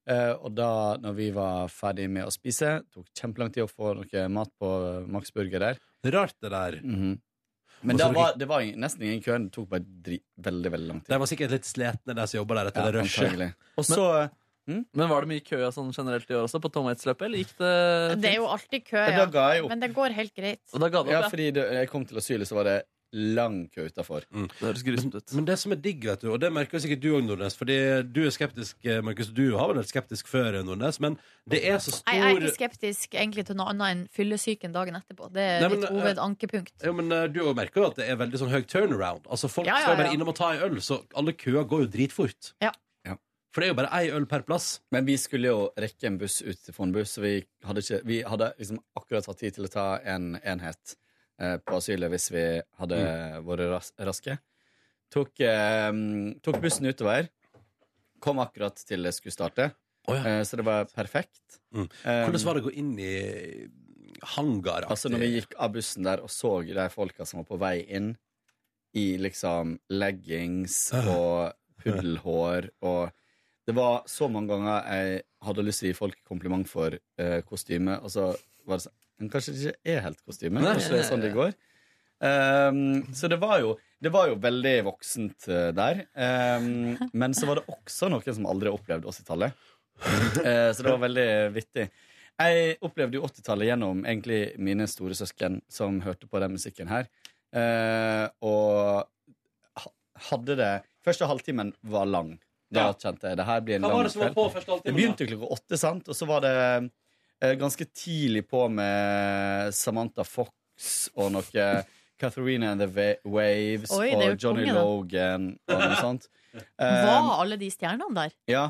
Eh, og da, når vi var ferdig med å spise, tok kjempelang tid å få noe mat på eh, Max Burger der. Rart det der. Men Mhm. Og så da dere- var, det var ing- nesten ingen kø. Det tok bare dri veldig, veldig lang tid. De var sikkert litt sletne, de som jobba der etter det rushet. antagelig. Og så Men var det mye kø sånn generelt i år også, på Tom Waits-løpet, eller gikk det Det er jo alltid kø, Men da ga jeg ja. opp. Men det går helt greit. ja, fordi det, jeg kom til asylet, så var det lang kø utafor. Det høres grusomt ut. Men det som er digg, vet du, og det merker sikkert du òg, Nordnes, fordi du er skeptisk, eh, Markus. Du har vel vært skeptisk før, Nordnes, men det er så stor Nei, jeg er ikke skeptisk egentlig til noe annet enn fyllesyken dagen etterpå. Det er Nei, men, mitt eh, hovedankepunkt. Jo, men eh, du også merker jo at det er veldig sånn høy turnaround. Altså Folk Ja, ja, skal bare ja. innom og ta en øl, så alle køer går jo dritfort. Ja. For det er jo bare ei øl per plass. Men vi skulle jo rekke en buss ut til Fornebu, så vi hadde, ikke, vi hadde liksom akkurat hatt tid til å ta en enhet eh, på asylet hvis vi hadde Mm. vært ras raske. Tok, eh, tok bussen utover. Kom akkurat til det skulle starte. eh, så det var perfekt. Mm. Hvordan var det å gå inn i hangar? Eh, Altså når vi gikk av bussen der og så de folka som var på vei inn i liksom leggings Ah. og puddelhår og Det var så mange ganger jeg hadde lyst til å gi folk kompliment for eh, kostyme, og så var det sånn Men kanskje det ikke er helt kostyme? Nei. Kanskje det er sånn det går? Ehm, så det var, jo, det var jo veldig voksent eh, der. Ehm, men så var det også noen som aldri opplevde 80-tallet. Eh, så det var veldig vittig. Jeg opplevde jo 80-tallet gjennom egentlig mine store søsken som hørte på den musikken her. Eh, og ha- hadde det Første halvtimen var lang. Da Ja. kjente jeg det her blir en Hva var lang det som var kveld. på første halvtimen, Det begynte klokka åtte, sant? Og så var det eh, ganske tidlig på med Samantha Fox og noe Katharina and the Wa- Waves Oi, det er jo og Johnny konge, da. Logan og noe sånt. Var Eh, alle de stjernene der? ja.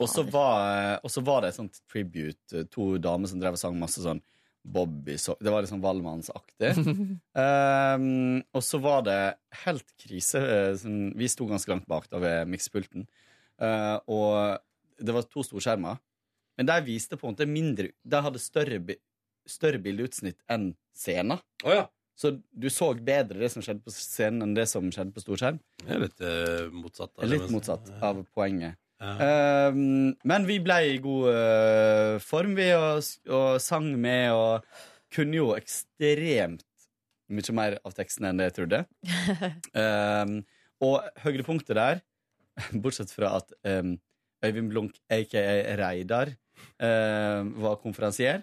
Og så var, eh, og så var det et sånt tribute. eh, To damer som drev og sang masse sånn Bobby så Det var litt sånn Valmannsaktig. um, og så var det helt krise. eh, Sånn, vi sto ganske langt bak da ved mikspulten. Eh, og det var to storskjermer. Men de viste på en måte mindre De hadde større, bi- større bildeutsnitt enn scenen. Så du så bedre det som skjedde på scenen, enn det som skjedde på storskjerm. Det er litt eh, motsatt. av det, Litt men- motsatt av poenget. Ja. Ehm, men vi ble i god eh, form, vi, og, og sang med og kunne jo ekstremt mye mer av teksten enn det jeg trodde. Ehm, og høydepunktet der, bortsett fra at ehm, Øyvind Blunk, aka Reidar, ehm, var konferansier,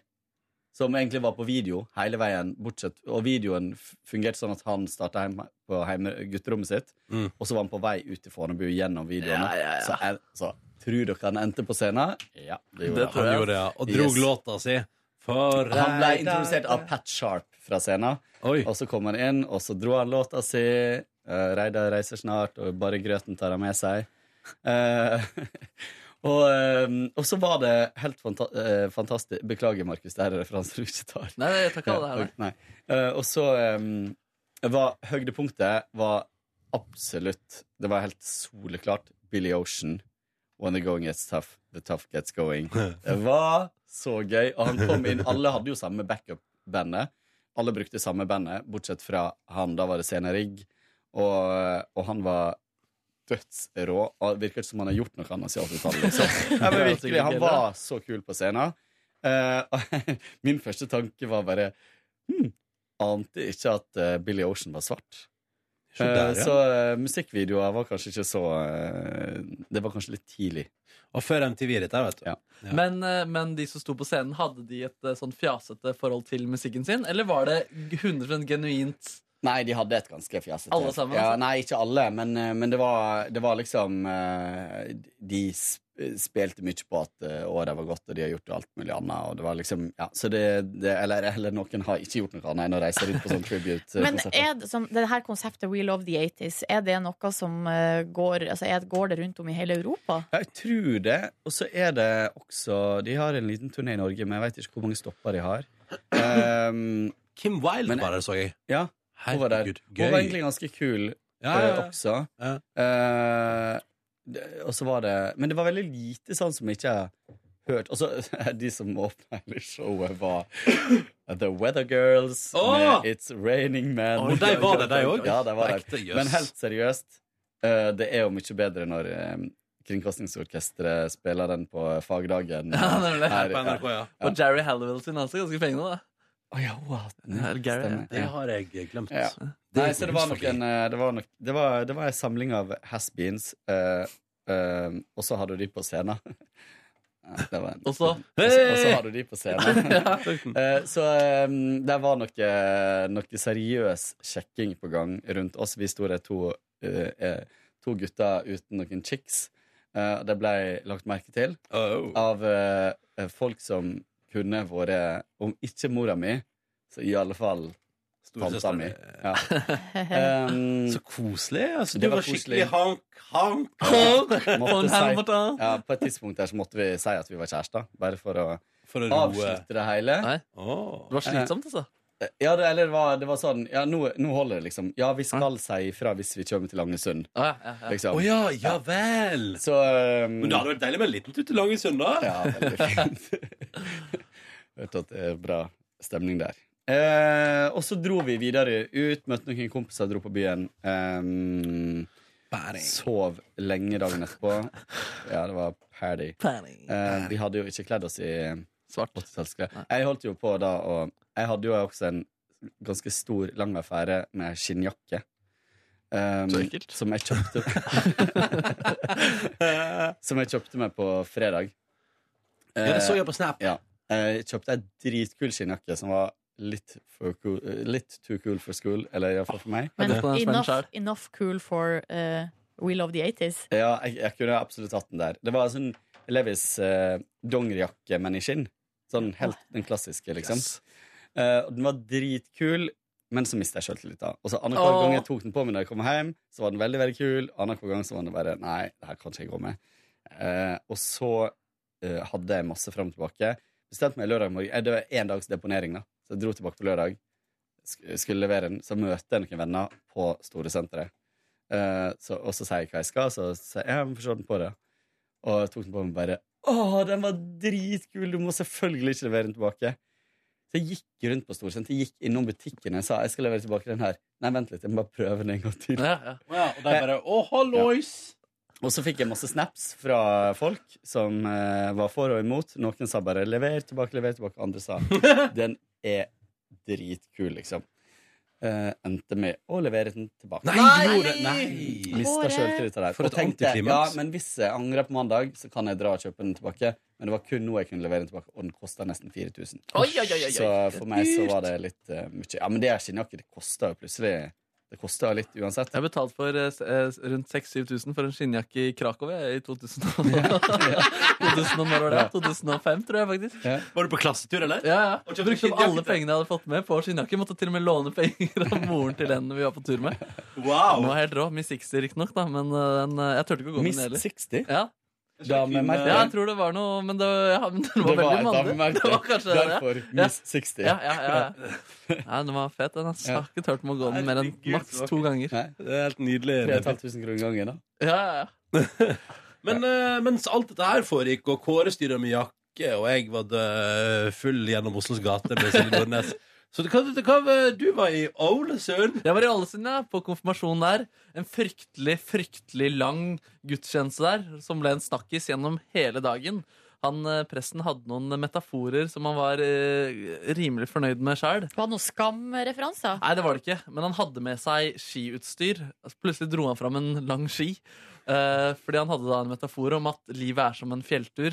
som egentlig var på video hele veien, bortsett, og videoen f- fungerte sånn at han starta heim, på heime, gutterommet sitt, og så var han på vei ut til Fornebu gjennom videoene. Ja, ja, ja. Så, jeg, så tror dere han endte på scenen? Ja, det gjorde Det tror jeg. Han gjorde det, ja. Og drog låta si. For han ble introdusert av Pat Sharp fra scenen. Og så kom han inn, og så dro han låta si. eh, Reidar reiser snart, og bare grøten tar han med seg. Eh, og, eh, og så var det helt fanta eh, fantastisk Beklager, Markus, det her er referanser du ikke tar. Nei, nei, jeg tar ikke alle her, Ja, ok, nei. Eh, og så eh, var høydepunktet var absolutt Det var helt soleklart Billy Ocean. When the going gets tough, the tough gets going. Det var så gøy. Og han kom inn Alle hadde jo samme backup-bandet. Alle brukte samme bandet, bortsett fra han. Da var det Scenerigg. Og, og han var dødsrå. Og det virker ikke som han har gjort noe annet siden 80-tallet. liksom. Nei, men virkelig, Han var så kul på scenen. Eh, og min første tanke var bare hmm, Ante ikke at eh, Billy Ocean var svart. Se der, Eh, ja. Så eh, musikkvideoer var kanskje ikke så eh, Det var kanskje litt tidlig. Og før MTV er dette, vet du. Men, eh, men de som sto på scenen, hadde de et eh, sånn fjasete forhold til musikken sin? Eller var det 100 genuint Nei, de hadde et ganske fjasete Alle sammen? Ja, altså? nei, ikke alle, men, eh, men det, var, det var liksom eh, De sp- spilte mye på at eh, året var godt, og de har gjort alt mulig annet. Og det var liksom, ja, så det, det, eller, eller noen har ikke gjort noe annet enn å reise rundt på sånn Men tribute-konserter. er det, som, det her konseptet We love the 80s, er det noe som eh, går, altså, er, går det rundt om i hele Europa? Ja, jeg tror det. Og så er det også De har en liten turné i Norge, men jeg veit ikke hvor mange stopper de har. Ehm, Kim Wilde var der, så jeg. Ja, hun var der. Herregud, Hun gøy. var egentlig ganske kul Ja, ja, ja. eh, også. Ja. Eh, det- og så var det Men det var veldig lite sånn som jeg ikke har hørt. Og så de som åpna hele showet, var The Weather Girls Åh! med It's Raining Man. Å, de var det, de også? Ja, de var Ekte, det. jøss. Eh, Men helt seriøst, eh, det er jo mye bedre når eh, Kringkastingsorkesteret spiller den på fagdagen. Ja, nemlig. Her- På NRK, ja. Og Jerry Halliwell sin hans Altså, er ganske fengende, da. Ja, Gary, stemmer. det Ja. har jeg glemt. Ja. Det er Nei, så det var nok husfaglig. en eh, Det var, nok, det var, det var en samling av has-beens, eh, eh, og så hadde du de på scenen. Ja, det var en- Og så- og så og så hadde du de på scenen. Eh, så eh, det var noe, noe seriøs sjekking på gang rundt oss. Vi sto der to, eh, eh, to gutter uten noen chicks. Eh, og det ble lagt merke til av eh, eh, folk som kunne vært, om ikke mora mi, så i alle fall tanta Storesøster. mi. Ja. så koselig. altså. Mm. det Du var koselig. skikkelig hank, hank, Ja. hank. Måtte Von si, Helmut, ja, på et tidspunkt der så måtte vi si at vi var kjærester, bare for å, For å roe. avslutte det hele. Det var slitsomt, altså. Ja, det, eller det var, det var sånn Ja, nå, nå holder det, liksom. Ja, vi skal si ifra hvis vi kommer til Langesund. Å ja, ja. Liksom. Å ja, ja vel! Så, um, Men det hadde vært deilig med en liten tur til Langesund, da. Ja, veldig fint. Vet at det er bra stemning der. Eh, og så dro vi videre ut, møtte noen kompiser, dro på byen. Ehm, sov lenge dagen etterpå. Ja, det var party. Party. Eh, vi hadde jo ikke kledd oss i svart. Jeg holdt jo på da og Jeg hadde jo også en ganske stor, lang affære med skinnjakke. ehm, Så ekkelt. Som jeg kjøpte Som jeg kjøpte meg på fredag. Ja, det så jeg på Snap. Ja. Jeg kjøpte ei dritkul skinnjakke som var litt, for cool, litt too cool for school, eller iallfall for meg. Men enough, enough cool for eh, We Love the 80s. Ja, jeg, jeg kunne absolutt hatt den der. Det var sånn Levis eh, dongerijakke, men i skinn. Sånn helt den klassiske, liksom. Eh, og den var dritkul, men så mista jeg sjøltilliten. Og så annenhver Åh. gang jeg tok den på meg når jeg kom hjem, så var den veldig veldig kul. Annenhver gang så var den bare Nei, det her kan ikke jeg gå med. Eh, og så eh, hadde jeg masse fram og tilbake. Bestemte meg lørdag morgen. eh, Det var én dags deponering, da. Så jeg dro tilbake på lørdag. Sk- Skulle levere den. Så møter jeg noen venner på Storesenteret. Eh, så, og så sier jeg hva jeg skal, så sier jeg «Ja, men få se den på deg. Og jeg tok den på meg og bare Å, den var dritkul! Du må selvfølgelig ikke levere den tilbake. Så jeg gikk rundt på Storsenter, gikk innom butikken og sa jeg skal levere tilbake den her. Nei, vent litt, jeg må bare prøve den en gang til. Og de bare Å, hallois! Og så fikk jeg masse snaps fra folk som eh, var for og imot. Noen sa bare 'lever tilbake', 'lever tilbake'. Andre sa 'den er dritkul', liksom. Eh, endte med å levere den tilbake. Nei, du gjorde- Nei! Mista Håret. sjøltilliten der. For Og et tenkte, ja, antiklimaks. men hvis jeg angrer på mandag, så kan jeg dra og kjøpe den tilbake. Men det var kun nå jeg kunne levere den tilbake, og den kosta nesten 4000. Oi, oi, oi, oi. Så for meg så Dyrt. var det litt eh, mye. Ja, men det er skinnjakke. Det kosta jo plutselig Det kosta jo litt uansett. Jeg betalte for eh, s- eh, rundt 6000-7000 for en skinnjakke i Krakow jeg, i 2000. og- 2000 og når var det? 2005, tror jeg faktisk. Var du på klassetur, eller? Ja, ja. Og kjøpte Brukte opp skinnjakke alle til- pengene jeg hadde fått med på skinnjakke. Måtte til og med låne penger av moren til den vi var på tur med. Wow. Den var helt rå. Miss 60 riktignok, da, men eh, den, eh, jeg turte ikke å gå med Miss den heller. 60? Ja. Damemerke? Ja, jeg tror det var noe Men det, ja, men den Det var var veldig et mandig. damemerke. Det var kanskje det, ja. Derfor Ja. Miss 60. Ja, ja, ja. ja. Nei, den var fet, den. ass. Jeg har ikke tørt meg å gå den mer enn maks to ganger. Det er helt nydelig. 3500 kroner gangen, da. Ja, ja, ja. Men eh, mens alt dette her foregikk, og Kåre styra med jakke, og jeg var dø- full gjennom Oslos gater med Silje Nordnes Så det kan, det kan, du var i Ålesund? Jeg var i Ålesund, ja, på konfirmasjon der. En fryktelig, fryktelig lang gudstjeneste der, som ble en snakkis gjennom hele dagen. Han, eh, Presten hadde noen metaforer som han var eh, rimelig fornøyd med sjøl. Var det noen skamreferanser? Nei, det var det ikke. Men han hadde med seg skiutstyr. Altså, Plutselig dro han fram en lang ski. eh, fordi han hadde da en metafor om at livet er som en fjelltur,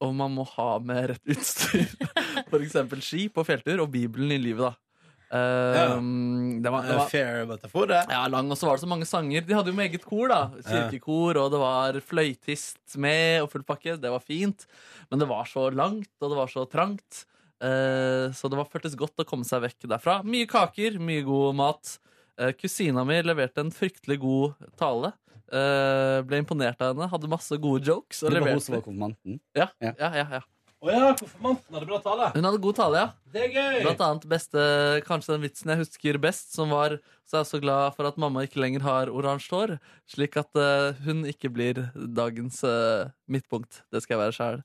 og man må ha med rett utstyr. For eksempel ski på fjelltur, og Bibelen i livet, da. Eh, Ja. det var, det var, eh, Fair metafor, det. Ja, lang, og så var det så mange sanger. De hadde jo med eget kor, da. Kirkekor, og det var fløytist med, og full pakke. Det var fint. Men det var så langt, og det var så trangt. Eh, så det var føltes godt å komme seg vekk derfra. Mye kaker, mye god mat. Eh, kusina mi leverte en fryktelig god tale. Eh, ble imponert av henne. Hadde masse gode jokes. og Det var leverte- hun som var konfirmanten. ja, ja, ja, ja. Å ja, konfirmanten hadde bra tale. Hun hadde god tale, ja. Det er gøy! Blant annet beste, kanskje den vitsen jeg husker best, som var så er jeg så glad for at mamma ikke lenger har oransje hår, slik at eh, hun ikke blir dagens eh, midtpunkt. Det skal jeg være sjæl.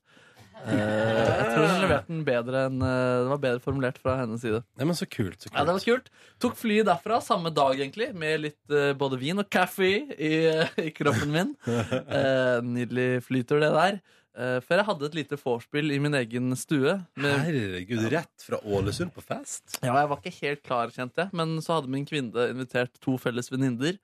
jeg tror hun leverte den bedre enn eh, Den var bedre formulert fra hennes side. Nei, men så kult, så kult. Ja, det var kult. Tok flyet derfra samme dag, egentlig, med litt eh, både vin og kaffe i, i kroppen min. Eh, nydelig flytur, det der. Eh, før jeg hadde et lite vorspiel i min egen stue. Herregud, rett fra Ålesund på fest? Ja, jeg var ikke helt klar, kjente jeg. Men så hadde min kvinne invitert to felles venninner.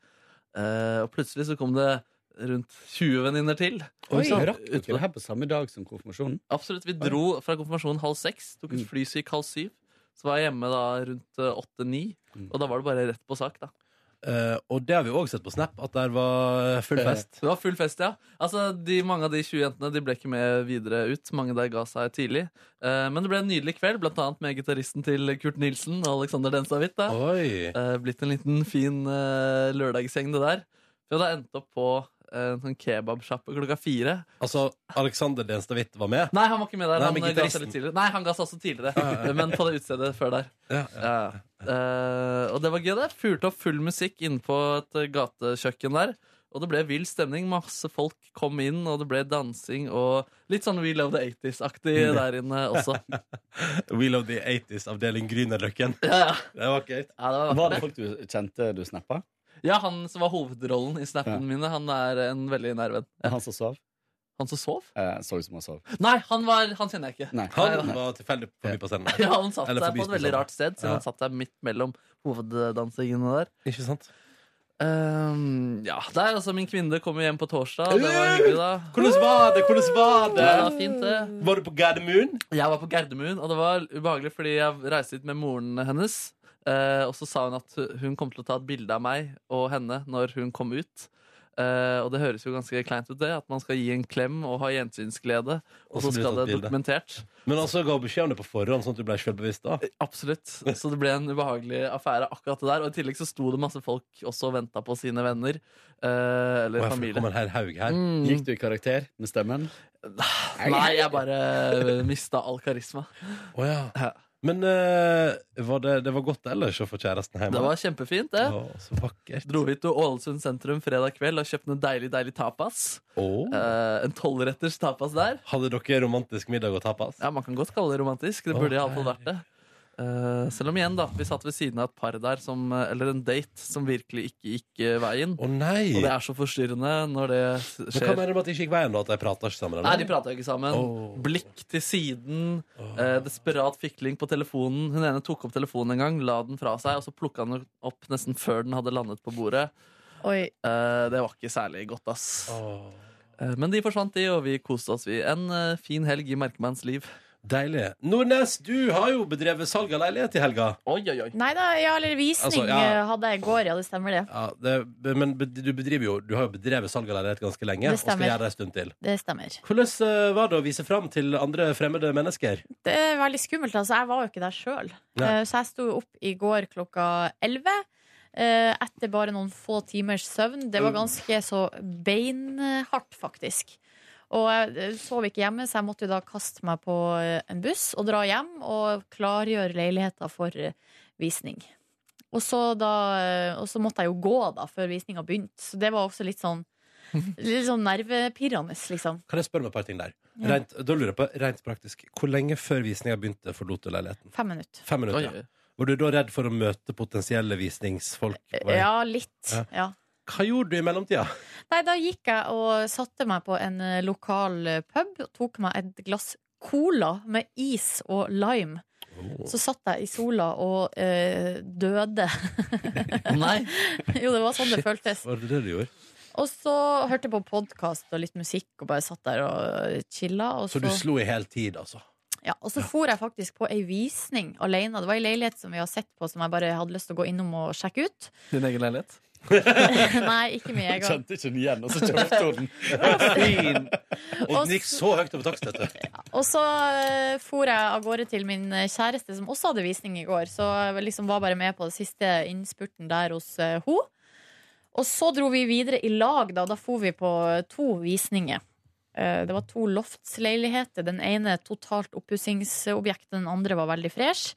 eh, og plutselig så kom det rundt 20 venninner til. Oi, Så- rakk dere det her på samme dag som konfirmasjonen? Absolutt. Vi dro fra konfirmasjonen halv seks, tok et fly som gikk halv syv. Så var jeg hjemme da rundt åtte-ni, og da var det bare rett på sak, da. Eh, og det har vi òg sett på Snap, at der var full fest. Det var full fest, ja. Altså, de, mange av de 20 jentene de ble ikke med videre ut. Mange der ga seg tidlig. Eh, men det ble en nydelig kveld, blant annet med gitaristen til Kurt Nilsen og Alexander Densavit. Da. Eh, blitt en liten fin eh, lørdagsseng, det der. Vi hadde endt opp på eh, en sånn kebabsjappe klokka fire. Altså, Alexander Denstavitt var med? Nei, han var ikke med der. Nei, Han eh, men ga seg gitaristen. litt tidligere. Nei, han ga seg også Ja, ja, ja. tidligere, men på det utstedet før der. Ja. Eh, og det var gøy, det. Fyrte opp full musikk inne på et eh, gatekjøkken der. Og det ble vill stemning. Masse folk kom inn, og det ble dansing og litt sånn We Love the 80s-aktig Mm. der inne også. Wheel of the 80s, avdeling Grünerløkken. Ja, Det var gøy. Ja, det var, Var det vakkert, folk du kjente du snappa? det. ja, han som var hovedrollen i snappene mine, han er en veldig nær venn. Han som sov? Han som sov? Eh, så ut som han sov. Nei, han, var, han kjenner jeg ikke. Nei. Nei, Han nei. var tilfeldig forbi på scenen. Ja, han satt Eller der forbi på et veldig spisene. rart sted, siden Ja. han satt der midt mellom hoveddansingene der. Ikke sant? ja, der altså Min kvinne kom jo hjem på torsdag. Det var hyggelig, da. Hvordan var det? Hvordan var det? Ja, det var fint, det. Var du på Gardermoen? Jeg var på Gardermoen, og det var ubehagelig fordi jeg reiste dit med moren hennes. Eh, og så sa hun at hu- hun kom til å ta et bilde av meg og henne når hun kom ut. Eh, og det høres jo ganske kleint ut, det. At man skal gi en klem og ha gjensynsglede. Og så blir skal tatt det bilde. dokumentert. Men altså, ga hun beskjed om det på forhånd, sånn at du ble selvbevisst da? Absolutt. Så det ble en ubehagelig affære akkurat det der. Og i tillegg så sto det masse folk også og venta på sine venner. eh, eller Å, jeg får- familie. Mm. kom en hel haug her. Gikk du i karakter med stemmen? Nei, jeg bare mista all karisma. Å ja. Men eh, var det, det var godt ellers å få kjæresten hjemme? Det var kjempefint, det. Å, så vakkert. Dro hit til Ålesund sentrum fredag kveld og kjøpte en deilig, deilig tapas. Eh, en tolvretters tapas der. Hadde dere romantisk middag altså? og tapas? Ja, Man kan godt kalle det romantisk. Det burde iallfall vært det. Eh, selv om igjen da, vi satt ved siden av et par der, som, eller en date, som virkelig ikke gikk eh, veien. Og det er så forstyrrende når det s- Men hva skjer. mener du med at det ikke gikk veien, da? At de prater ikke sammen? Nei, de prata ikke sammen. Åh. Blikk til siden. Eh, desperat fikling på telefonen. Hun ene tok opp telefonen en gang, la den fra seg, og så plukka han den opp nesten før den hadde landet på bordet. Eh, det var ikke særlig godt, ass. Eh, men de forsvant, de, og vi koste oss, vi. En eh, fin helg i merkemanns liv. Deilig. Nordnes, du har jo bedrevet salg av leilighet i helga. Oi, oi, oi. Nei da, ja, eller visning Altså, ja. eh, hadde jeg i går, ja, det stemmer det. Ja, det, men be- du, bedriver jo, du har jo bedrevet salg av leilighet ganske lenge, Det og skal stemmer. gjøre det en stund til. Det stemmer. Hvordan eh, var det å vise fram til andre fremmede mennesker? Det er veldig skummelt, altså. Jeg var jo ikke der sjøl. Nei. Så jeg sto jo opp i går klokka elleve. eh, Etter bare noen få timers søvn. Det Mm. var ganske så beinhardt, faktisk. Og jeg eh, sov ikke hjemme, så jeg måtte jo da kaste meg på eh, en buss og dra hjem og klargjøre leiligheta for eh, visning. Og så, da, eh, og så måtte jeg jo gå da før visninga begynte, så det var også litt sånn, litt sånn nervepirrende, liksom. Kan jeg spørre om et par ting der? Ja. Rent, da lurer jeg på, rent praktisk, hvor lenge før visninga begynte forlot du leiligheten? Fem minutter. Fem minutter, Oi. ja. Var du da redd for å møte potensielle visningsfolk? Var det- Eh, Ja, litt. Ja. Ja. Hva gjorde du i mellomtida? Nei, da gikk jeg og satte meg på en eh, lokal eh, pub og tok meg et glass cola med is og lime. Så satt jeg i sola og eh, døde. Nei. jo, det var sånn det føltes. Var det det du gjorde? Og så hørte jeg på podkast og litt musikk og bare satt der og eh, chilla. Og Så du slo i hel tid, altså? ja, og så for jeg faktisk på ei visning alene. Det var ei leilighet som vi har sett på, som jeg bare hadde lyst til å gå innom og sjekke ut. Din egen leilighet? Nei, ikke min Sånn Jeg egen. kjente ikke den igjen, og så kjøpte hun den. Og den gikk så høyt over takst, vet du. Og så eh, for jeg av gårde til min eh, kjæreste, som også hadde visning i går. Så jeg liksom var bare med på den siste innspurten der hos uh, ho. Og så dro vi videre i lag, da. Da for vi på to eh, visninger. Eh, eh, Det var to loftsleiligheter. Den ene totalt oppussingsobjekt, den andre var veldig fresh.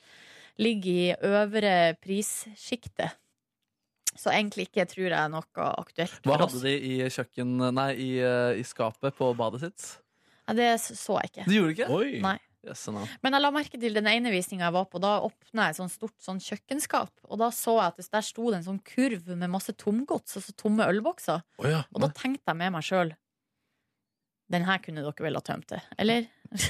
Ligger i øvre prissjiktet. Så egentlig ikke tror jeg er noe aktuelt. Hva for oss. hadde de i kjøkken Nei, i, eh, i skapet på badet sitt? Nei, det så jeg ikke. De gjorde ikke? Oi. Nei. Jøsse navn. Men jeg la merke til den ene visninga jeg var på. Da åpna jeg et sånt stort sånn kjøkkenskap. Og da så jeg at det- der sto det en sånn kurv med masse tomgods, altså tomme ølbokser. Og da tenkte jeg med meg sjøl Den her kunne dere vel ha tømt det, eller? Det,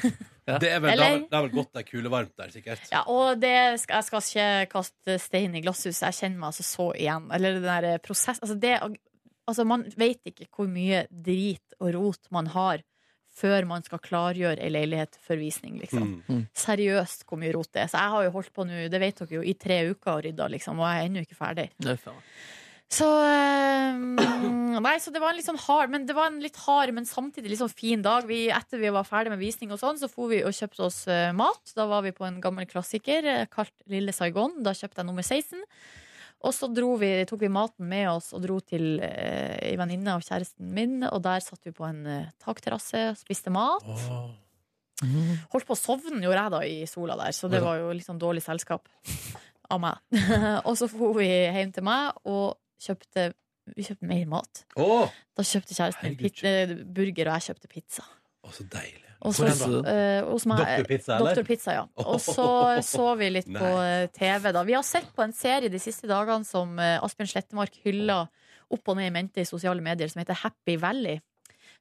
er vel, det, er vel, Eller? det er vel godt det er kulevarmt der, sikkert. Ja, og det skal, jeg skal ikke kaste stein i glasshuset. Jeg kjenner meg altså så igjen. Eller den der prosess altså, det, altså, man vet ikke hvor mye drit og rot man har før man skal klargjøre ei leilighet for visning, liksom. Mm. Mm. Seriøst hvor mye rot det er. Så jeg har jo holdt på nå, det vet dere jo, i tre uker og rydda, liksom, og jeg er ennå ikke ferdig. Nei, faen. Så eh, Nei, så det var en litt sånn hard, men det var en litt hard, men samtidig litt sånn fin dag. Vi, etter vi var ferdig med visning og sånn, så for vi og kjøpte oss eh, mat. Da var vi på en gammel klassiker eh, kalt Lille Saigon. Da kjøpte jeg nummer 16. Og så dro vi, tok vi maten med oss og dro til eh, ei venninne av kjæresten min, og der satt vi på en eh, takterrasse og spiste mat. Holdt på å sovne gjorde jeg da i sola der, så det var jo litt sånn dårlig selskap av meg. Eh, og så for vi hjem til meg og kjøpte vi kjøpte mer mat. Da kjøpte kjæresten min pit- eh, burger, og jeg kjøpte pizza. Å, så deilig. Og så, Hvordan da? eh, hos meg, Dr. Pizza, eller? Dr. Pizza, ja. Og så så vi litt på eh, TV, da. Vi har sett på en serie de siste dagene som eh, Asbjørn Slettemark hyller opp og ned i mente i sosiale medier, som heter Happy Valley.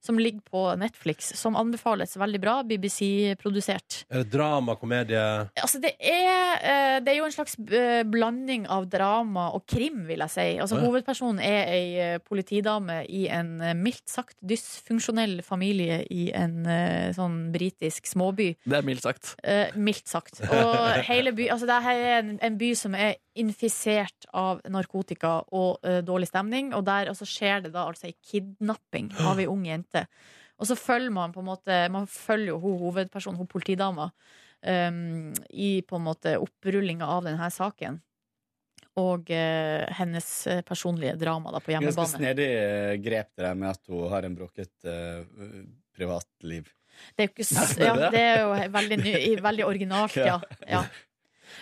Som ligger på Netflix, som anbefales veldig bra. BBC-produsert. Er det drama, komedie Altså, det er, eh, det er jo en slags eh, blanding av drama og krim, vil jeg si. Altså, Å, ja. Hovedpersonen er ei eh, politidame i en eh, mildt sagt dysfunksjonell familie i en eh, sånn britisk småby. Det er mildt sagt. Eh, mildt sagt. Og hele by, altså det her er en, en by som er infisert av narkotika og eh, dårlig stemning, og der altså skjer det da altså en kidnapping av ei ung jente. Og så følger man på en måte Man følger jo hun hovedpersonen, hun politidama, eh, i på en måte opprullinga av denne saken. Og eh, hennes eh, personlige drama da på Ganske hjemmebane. snedig eh, grep det der med at hun har en bråket eh, privatliv. Det er jo, ikke, s- Nei, ja, det er det. det er jo he- veldig, ny, i- veldig originalt, ja. ja.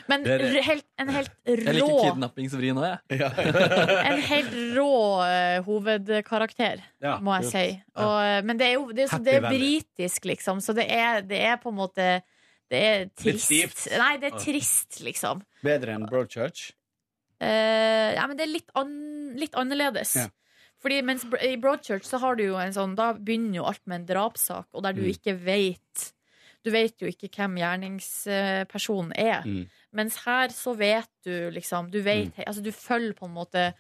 Men Det er det. r- helt, en helt Jeg liker rå kidnappingsvri nå, jeg. En helt rå eh, hovedkarakter, Ja, må jeg kult. si. Og, eh, men det er jo det er, så, Happy det er Valley. britisk, liksom, så det er, det er på en måte Det er Litt trist. stivt. Nei, det Ja. er trist, liksom. Bedre enn Broadchurch. Eh, ja, men det er litt, an litt annerledes. Ja. Fordi mens br- I Broadchurch så har du jo en sånn Da begynner jo alt med en drapssak, og der du Mm. ikke vet Du vet jo ikke hvem gjerningspersonen er. Mm. Mens her så vet du liksom Du vet Altså, du følger på en måte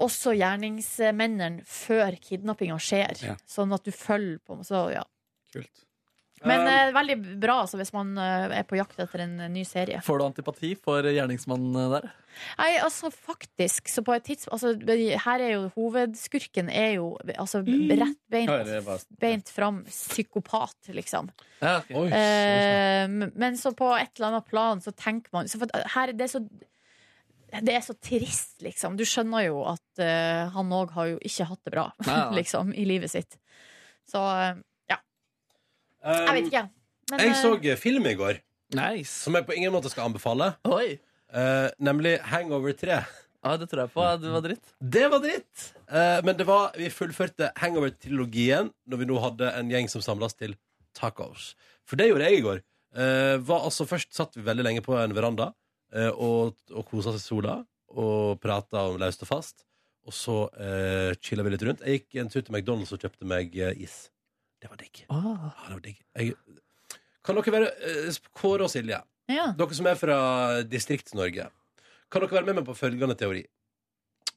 også gjerningsmennene før kidnappinga skjer. Ja. Sånn at du følger på en måte Så ja. Kult. Men Um, eh, veldig bra altså, hvis man eh, er på jakt etter en eh, ny serie. Får du antipati for gjerningsmannen eh, der? Nei, altså faktisk Så på et tidspunkt altså, Her er jo hovedskurken er jo altså, Rett beint, Ja, det er bare- beint fram Psykopat liksom Ja, Eh, Men så på et eller annet plan Så tenker man så for, at her, det, er så, det er så trist liksom Du skjønner jo at eh, Han også har jo ikke hatt det bra Nei, nei. Liksom i livet sitt Så eh, ja, jeg vet ikke men, Um, jeg eh, så film i går som jeg på ingen måte skal anbefale. Eh, nemlig Hangover 3. Ja, Ah, det tror jeg på. Det var dritt. Det var dritt! Eh, men det var, vi fullførte Hangover-trilogien når vi nå hadde en gjeng som samlas til tacos. For det gjorde jeg i går. Eh, var, altså, først satt vi veldig lenge på en veranda eh, og, og kosa oss i sola og prata om løst og fast. Og så uh, chilla vi litt rundt. Jeg gikk en tur til McDonald's og kjøpte meg eh, is. Ah. Ja, det var digg. Jeg, kan dere være eh, Kåre og Silje, eh, dere som er fra Distrikts-Norge, kan dere være med meg på følgende teori?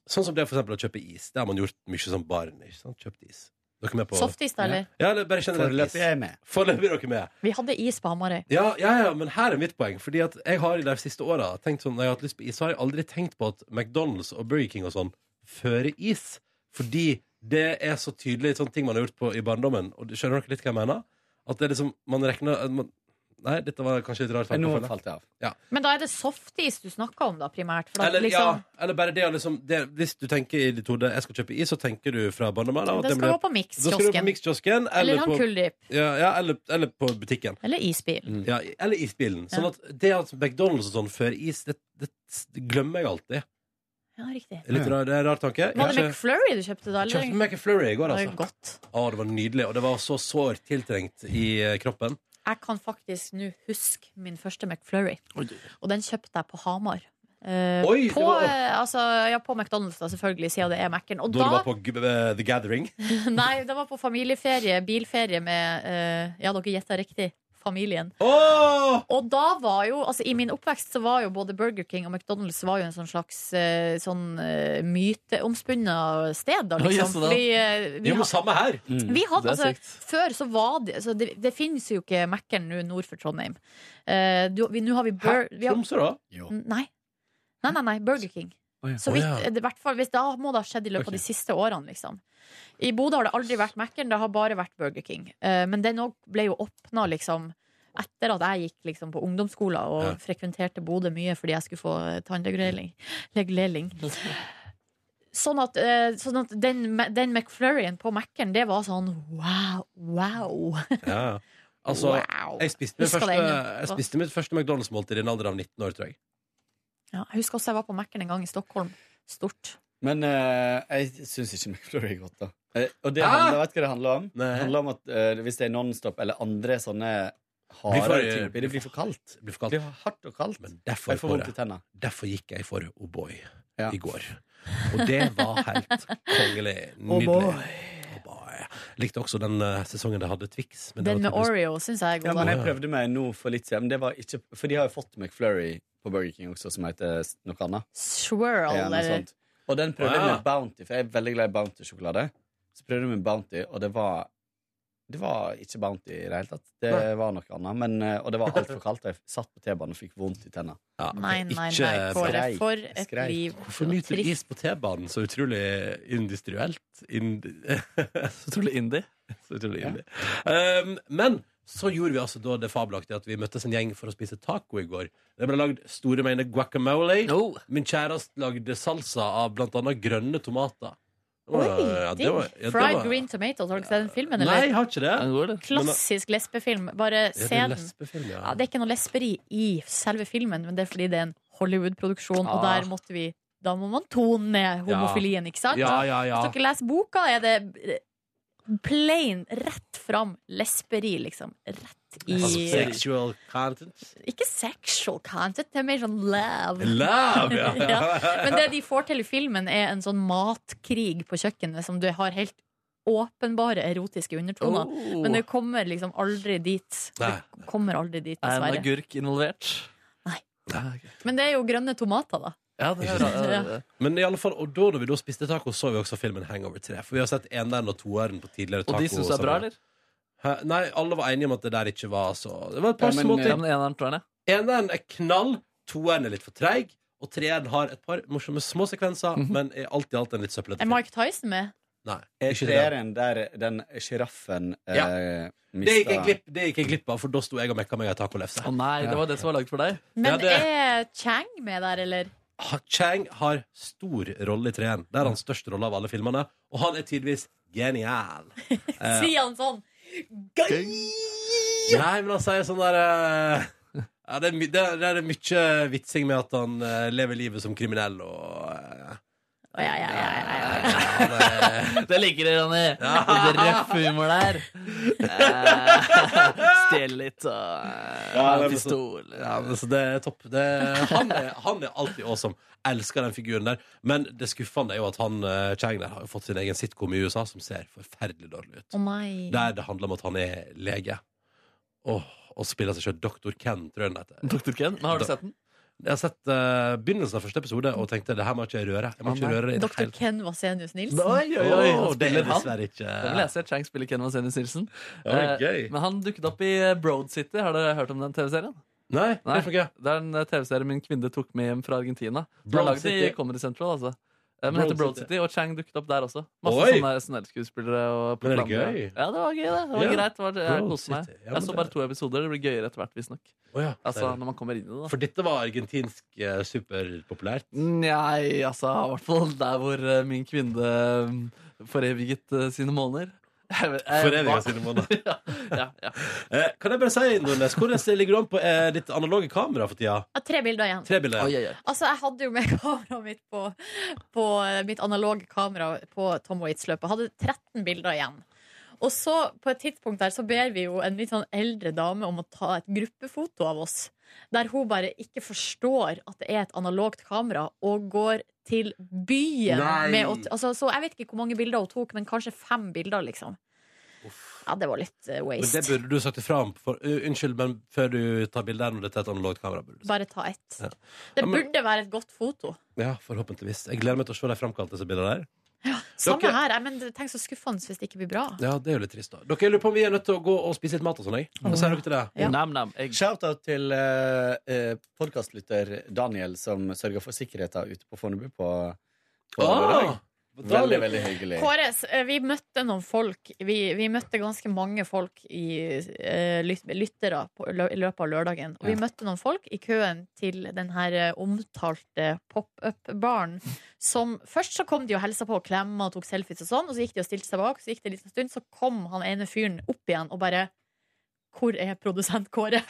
Sånn som det er for eksempel å kjøpe is. Det har man gjort mye som barn. ikke sant? Kjøpt is. Dere er med på Softis, da, eller? Ja, eller bare generelt Foreløpig is. er jeg med. Foreløpig er dere med. Vi hadde is på Hamarøy Ja, ja, ja, men her er mitt poeng. Fordi at jeg har i de siste åra tenkt sånn, når jeg har hatt lyst på is, så har jeg aldri tenkt på at McDonald's og Burger King og sånn fører is. Fordi det er så sånn tydelig sånne ting man har gjort på, i barndommen. Og du- skjønner dere litt hva jeg mener? At det er liksom, man regner man, Nei, dette var kanskje litt rart. Nå rekkefølge. falt jeg av. Ja. Men da er det softis du snakker om, da, primært. For da, Eller, liksom, ja, eller bare det, å liksom, det Hvis du tenker i ditt hode 'jeg skal kjøpe is', så tenker du fra Barnemann Da skal du på Mix-kiosken. Da skal du på Mix-kiosken Eller han på- Kulldip. Ja, ja eller, eller på butikken. Eller isbil. Ja, eller isbilen. Sånn Ja. at det at McDonald's og sånn før is, det, det glemmer jeg alltid. Ja, riktig. Litt rar, det er en rar tanke. Var det Kanskje- McFlurry du kjøpte da? eller? Kjøpte McFlurry i går, Det er altså. Å, det var nydelig. Og det var så sårt tiltrengt i eh, kroppen. Jeg kan faktisk nå huske min første McFlurry. Og den kjøpte jeg på Hamar. Eh, Oi, på, det var- eh, altså, ja, på McDonald's, da, selvfølgelig, siden det er Mac-en. Og Da du da, var på G- eh, The Gathering. nei, det var på familieferie, bilferie med eh, Ja, dere gjetta riktig. Familien. Og da var jo, altså I min oppvekst så var jo både Burger King og McDonald's var jo en sånn slags eh, sånn eh, myteomspunnet sted. da, Å, liksom. jaså da. Fordi, eh, vi jo, men har- samme her. Mm. vi hadde, altså, før så var det altså, Det, det finnes jo ikke Mækkern nå nord for Trondheim. Eh, du, vi, nå har vi Bur... vi har- Tromsø, da? Jo. Nei. Nei, nei, nei. Burger King. Å, ja. Så Å, vidt, ja. det, i hvert fall, hvis, Da må det ha skjedd i løpet av de siste årene. Liksom. I Bodø har det aldri vært Mækkern, det har bare vært Burger King. Eh, men den òg ble jo åpna liksom, etter at jeg gikk liksom, på ungdomsskolen og frekventerte Bodø mye fordi jeg skulle få eh, tannregulering. Regulering. Sånn at, eh, sånn at den, den McFlurryen på Mac-en, det var sånn wow, wow. Ja. ja. Altså, Wow. jeg spiste, min Husker første, det ennå. jeg spiste mitt første McDonald's-måltid i en alder av 19 år, tror jeg. Ja, jeg husker også jeg var på Mac-en en gang i Stockholm. Stort. Men eh, jeg syns ikke McFlurry er godt, da. Eh, og det Ah! Hæ? handler, vet du hva det handler om? Det handler om at eh, Hvis det er Nonstop eller andre sånne Blir for- harde ting oppi, det blir for kaldt. Det eh, blir for kaldt. hardt og kaldt. Derfor, jeg får vondt i tenna. derfor gikk jeg for O'boy i går. Og det var helt kongelig. Oh Nydelig. boy. O'boy. Likte også den eh, sesongen det hadde Twix. men det Den var med Oreo syns jeg er Ja, god. men da. jeg prøvde meg nå for litt siden. Men det var ikke, for de har jo fått McFlurry på Burger King også, som heter s- noe annet. Swirl, Ja, noe eller- sånn- sånt. Og den prøvde jeg Ah. med Bounty, for jeg er veldig glad i Bounty-sjokolade. Så prøvde jeg med Bounty, og det var det var ikke Bounty i det hele tatt. Det Nei. var noe annet. Men, eh, og det var altfor kaldt. og Jeg satt på T-banen og fikk vondt i tenna. Nei, nei, nei. Kåre, for et liv. eh, Hvorfor nyter du is på T-banen så utrolig industrielt? Ind så utrolig indie. Så utrolig indie. Um, men så gjorde vi altså da det fabelaktige at vi møttes en gjeng for å spise taco i går. Det ble lagd store mengder guacamole. Min kjæreste lagde salsa av blant annet grønne tomater. Det var- ja, det var- ja, det Fried var- Green Tomatoes, har dere sett den filmen? Nei, jeg har ikke det. Klassisk lesbefilm. Bare det er se den. lesbefilm, ja. Ja, det er ikke noe lesberi i selve filmen, men det er fordi det er en Hollywood-produksjon, og Ah. der måtte vi da må man tone ned homofilien, ikke sant? Ja, ja, ja. Hvis dere leser boka, er det eh, plain, rett fram lesberi, liksom. Rett i Altså, Sexual content. Ikke sexual content, det er mer sånn love. Love, Ah, ja. Men det de får til i filmen, er en sånn matkrig på kjøkkenet som du har helt åpenbare erotiske undertoner. Oh. Men det kommer liksom aldri dit. Nei. Det kommer aldri dit, Er en dessverre. agurk involvert? Men det er jo grønne tomater, da. Ja, det er, ja, ja. Men i alle fall, og da når vi da spiste taco, så vi også filmen Hangover 3. For vi har sett eneren og toeren på tidligere Og taco. de syns det er bra, eller? Hæ? Nei, alle var enige om at det der ikke var så Det var et par Ja, men, eh, små ja, ting. men eneren, toeren, ja. Eneren er knall, toeren er litt for treig, og treeren har et par morsomme små sekvenser, men er alt i alt en litt søppelete Er Mike Tyson med? Nei, Er ikke det. treeren der den sjiraffen eh, Ja. Det mista gikk jeg glipp, det gikk jeg glipp av, for da sto jeg og mekka meg ei tacolefse. Å nei, det var det som var laget for deg? Men er Chang med der, eller? Ha- Chang har stor rolle i treen. Det er hans største rolle av alle filmene, og han er tidvis genial. Eh, Sier han sånn? Nei, men han sier sånn der eh, ja, det, er my, det, er- det er mye vitsing med at han eh, lever livet som kriminell og eh, Det liker jeg, Ronny. Litt røff humor der. Stjele litt og eh, ja, ha men så- pistol. Ja, men så det er topp. Det, han, er, han er alltid awesome. Elsker den figuren der. Men det skuffende er jo at han eh, Chang der har jo fått sin egen sitcom i USA som ser forferdelig dårlig ut. Å nei. Der det handler om at han er lege. Åh, og spiller seg selv Dr. Ken, tror jeg den heter. Dr. Ken? Men har du sett den? Jeg har sett eh, begynnelsen av første episode og tenkte det her må jeg ikke røre. Jeg må ikke røre det i det Dr. hele Ken Vasenius Nilsen? Oi, oi, oi. Åh, Han det er spiller han. dessverre ikke- Da vil jeg se Chang spille Ken Vasenius Nilsen. Ja, det er Eh, gøy. Men han dukket opp i eh, Broad City. Har dere hørt om den TV-serien? Nei, Det er en eh, TV-serie min kvinne tok med hjem fra Argentina. Som er Broad laget i City. Comedy Central, altså. Men heter Broad City, og Chang dukket opp der også. Masse Oi! sånne SNL-skuespillere. og Men er det programledere. gøy? Ja, det var gøy, det. Det var Ja. greit. Det var, jeg Broad koste meg. City, ja, men Jeg så det- bare to episoder. Det blir gøyere etter hvert, visstnok. Å ja, Altså, der. når man kommer inn i det, da. For dette var argentinsk eh, superpopulært. Nei, altså, i hvert fall der hvor eh, min kvinne mm, foreviget eh, sine måneder. Jeg vet- jeg- Foreviget Eh, hva? sine måneder. ja, ja, ja. Eh, kan jeg bare si, Nordnes, hvordan ligger det an på eh, ditt analoge kamera for tida? Jeg har Tre bilder igjen. Tre bilder. Oi, oi, oi. Altså, jeg hadde jo med kameraet mitt på, på eh, mitt analoge kamera på Tom Waits-løpet. Hadde 13 bilder igjen. Og så, på et tidspunkt der, så ber vi jo en litt sånn eldre dame om å ta et gruppefoto av oss. Der hun bare ikke forstår at det er et analogt kamera, og går til byen Nei. med å t- altså, Så jeg vet ikke hvor mange bilder hun tok, men kanskje fem bilder, liksom. Ja, det var litt eh, Men waste. det burde du sagt ifra om. For, uh, unnskyld, men før du tar bilde her når dette er et analogt kamera. Burde. du- Bare ta ett. Ja. Det Ja, men- burde være et godt foto. ja, forhåpentligvis. Jeg gleder meg til å se de framkalte disse bildene der. Samme Dere- her. jeg, Men tenk så skuffende hvis det ikke blir bra. Ja, det er jo litt trist, da. Dere, jeg lurer på om vi er nødt til å gå og spise litt mat og sånn, jeg. Hva sier dere til det? Shout-out til uh, podkastlytter Daniel, som sørger for sikkerheten ute på Fornebu på, på Ah! lørdag. Veldig, Daniel. veldig hyggelig. Kåre, s- eh, vi møtte noen folk Vi, vi møtte ganske mange folk i, eh, lyt, Lyttere på, lø- i løpet av lørdagen Og vi Ja. møtte noen folk i køen til Den her eh, omtalte pop-up-baren Som først så kom de og helsa på Og klemma og tok selfies og sånn Og så gikk de og stilte seg bak Så gikk det en liten stund Så kom han ene fyren opp igjen og bare Hvor er produsent Kåre?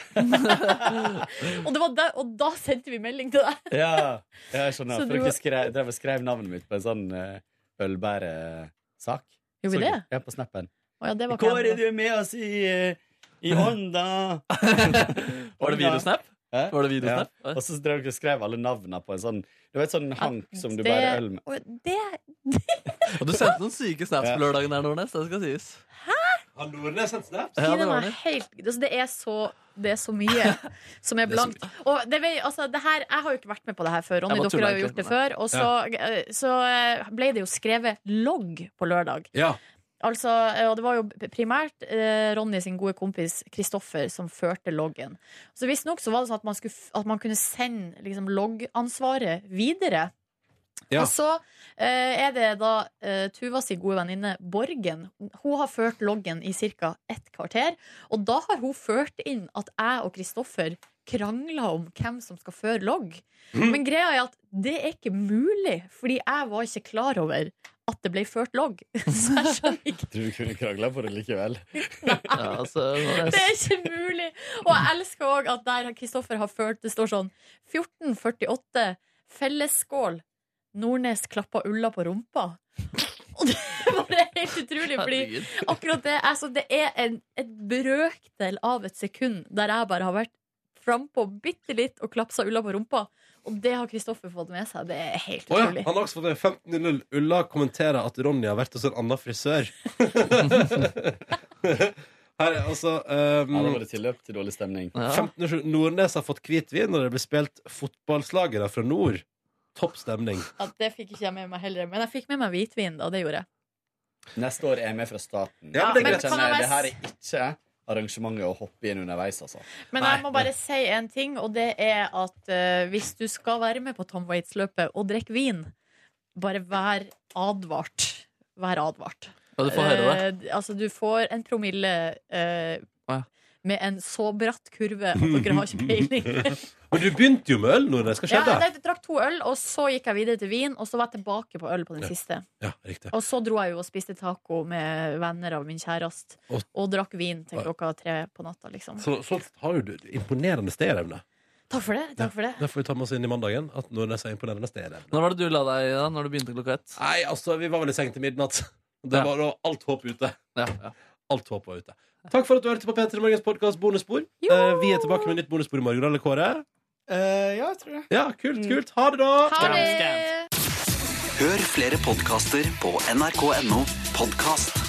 og, det var da, og da sendte vi melding til deg Ja, jeg skjønner. Så du- For dere skrev, drev og skrev navnet mitt på en sånn eh, ølbæresak. Gjorde vi Så- det? Ja, på snappen. Å ja, det var Kåre, klemmende. du er med oss i, eh, i ånda! Var det videosnap? Hæ? Var det videosnap? Ja. Og så drev dere og skrev alle navnene på en sånn Det var et sånn hank som du Det- bærer øl med. og det Og du sendte noen syke snaps på lørdagen der, Nordnes. Det skal sies. Har Nordnes sendt snaps? Gi dem meg helt, altså det, er så, det er så mye som er Det er så blankt. Og det, vet- altså det her, jeg har jo ikke vært med på det her før. Jeg Ronny, bare dere har jo tuller gjort det egentlig. før. Og så, eh, så eh, ble det jo skrevet logg på lørdag. Ja. Altså, eh, og det var jo primært eh, Ronny sin gode kompis Kristoffer som førte loggen. Så visstnok så var det sånn at man, skulle, f- at man kunne sende liksom, loggansvaret videre. Ja. Og så eh, er det da eh, Tuva si gode venninne Borgen. Hun har ført loggen i ca. ett kvarter. Og da har hun ført inn at jeg og Kristoffer krangla om hvem som skal føre logg. Men greia er at det er ikke mulig, fordi jeg var ikke klar over at det ble ført logg. Så jeg skjønner Du kunne krangla på det likevel. Ja, altså, det er ikke mulig! Og jeg elsker òg at der Kristoffer har ført Det står sånn 1448, fellesskål, Nordnes klappa ulla på rumpa. Og det er bare helt utrolig, fordi Herregud. akkurat det altså, Det er en, et brøkdel av et sekund der jeg bare har vært frampå bitte litt og klapsa ulla på rumpa. Og det har Kristoffer fått med seg. Det er helt Å ja, utrolig. han har også fått en 15-0. Ulla kommenterer at Ronny har vært hos en annen frisør. Her, er altså um, Ja, da var det tilløp til dårlig stemning. 15-7. Nordnes har fått hvitvin når det ble spilt fotballslagere fra nord. Topp stemning. Ja, det fikk ikke jeg med meg heller. Men jeg fikk med meg hvitvin, da. Det gjorde jeg. Neste år er jeg med fra Ja, staten. men det er greit. Jeg Men kan kjenner, jeg det her bare er ikke arrangementet å hoppe inn underveis, altså. Men jeg må bare si en ting, og det er at eh, hvis du skal være med på Tom Waits-løpet og drikke vin, bare vær advart. Vær advart. Ja, du får høre Eh, altså, du får en promille eh, Å, ja. med en så bratt kurve at dere har ikke peiling. Men du begynte jo med øl, Nordnes. Hva ja, skjedde? jeg drakk to øl, og så gikk jeg videre til vin, og så var jeg tilbake på øl på den Ja. siste. Ja, riktig. Og så dro jeg jo og spiste taco med venner av min kjæreste, Og- og drakk vin til Oi. klokka tre på natta, liksom. Så, så har jo du imponerende stedevne. Takk for det. Takk for det. Det får vi ta med oss inn i mandagen. At Nordnes har imponerende stedevne. Når var det du la deg da? Når du begynte klokka ett? Nei, altså, vi var vel i seng til midnatt. Det var da alt håp ute. Alt håp var ute. Takk for at du hørte på P3 Morgens podkast Bonusspor. Eh, vi er tilbake med nytt bonusspor i morgen, eller Kåre? Eh, ja, jeg tror det. Ja, kult, kult. Mm. Ha det, da! Hør flere podkaster på nrk.no podkast.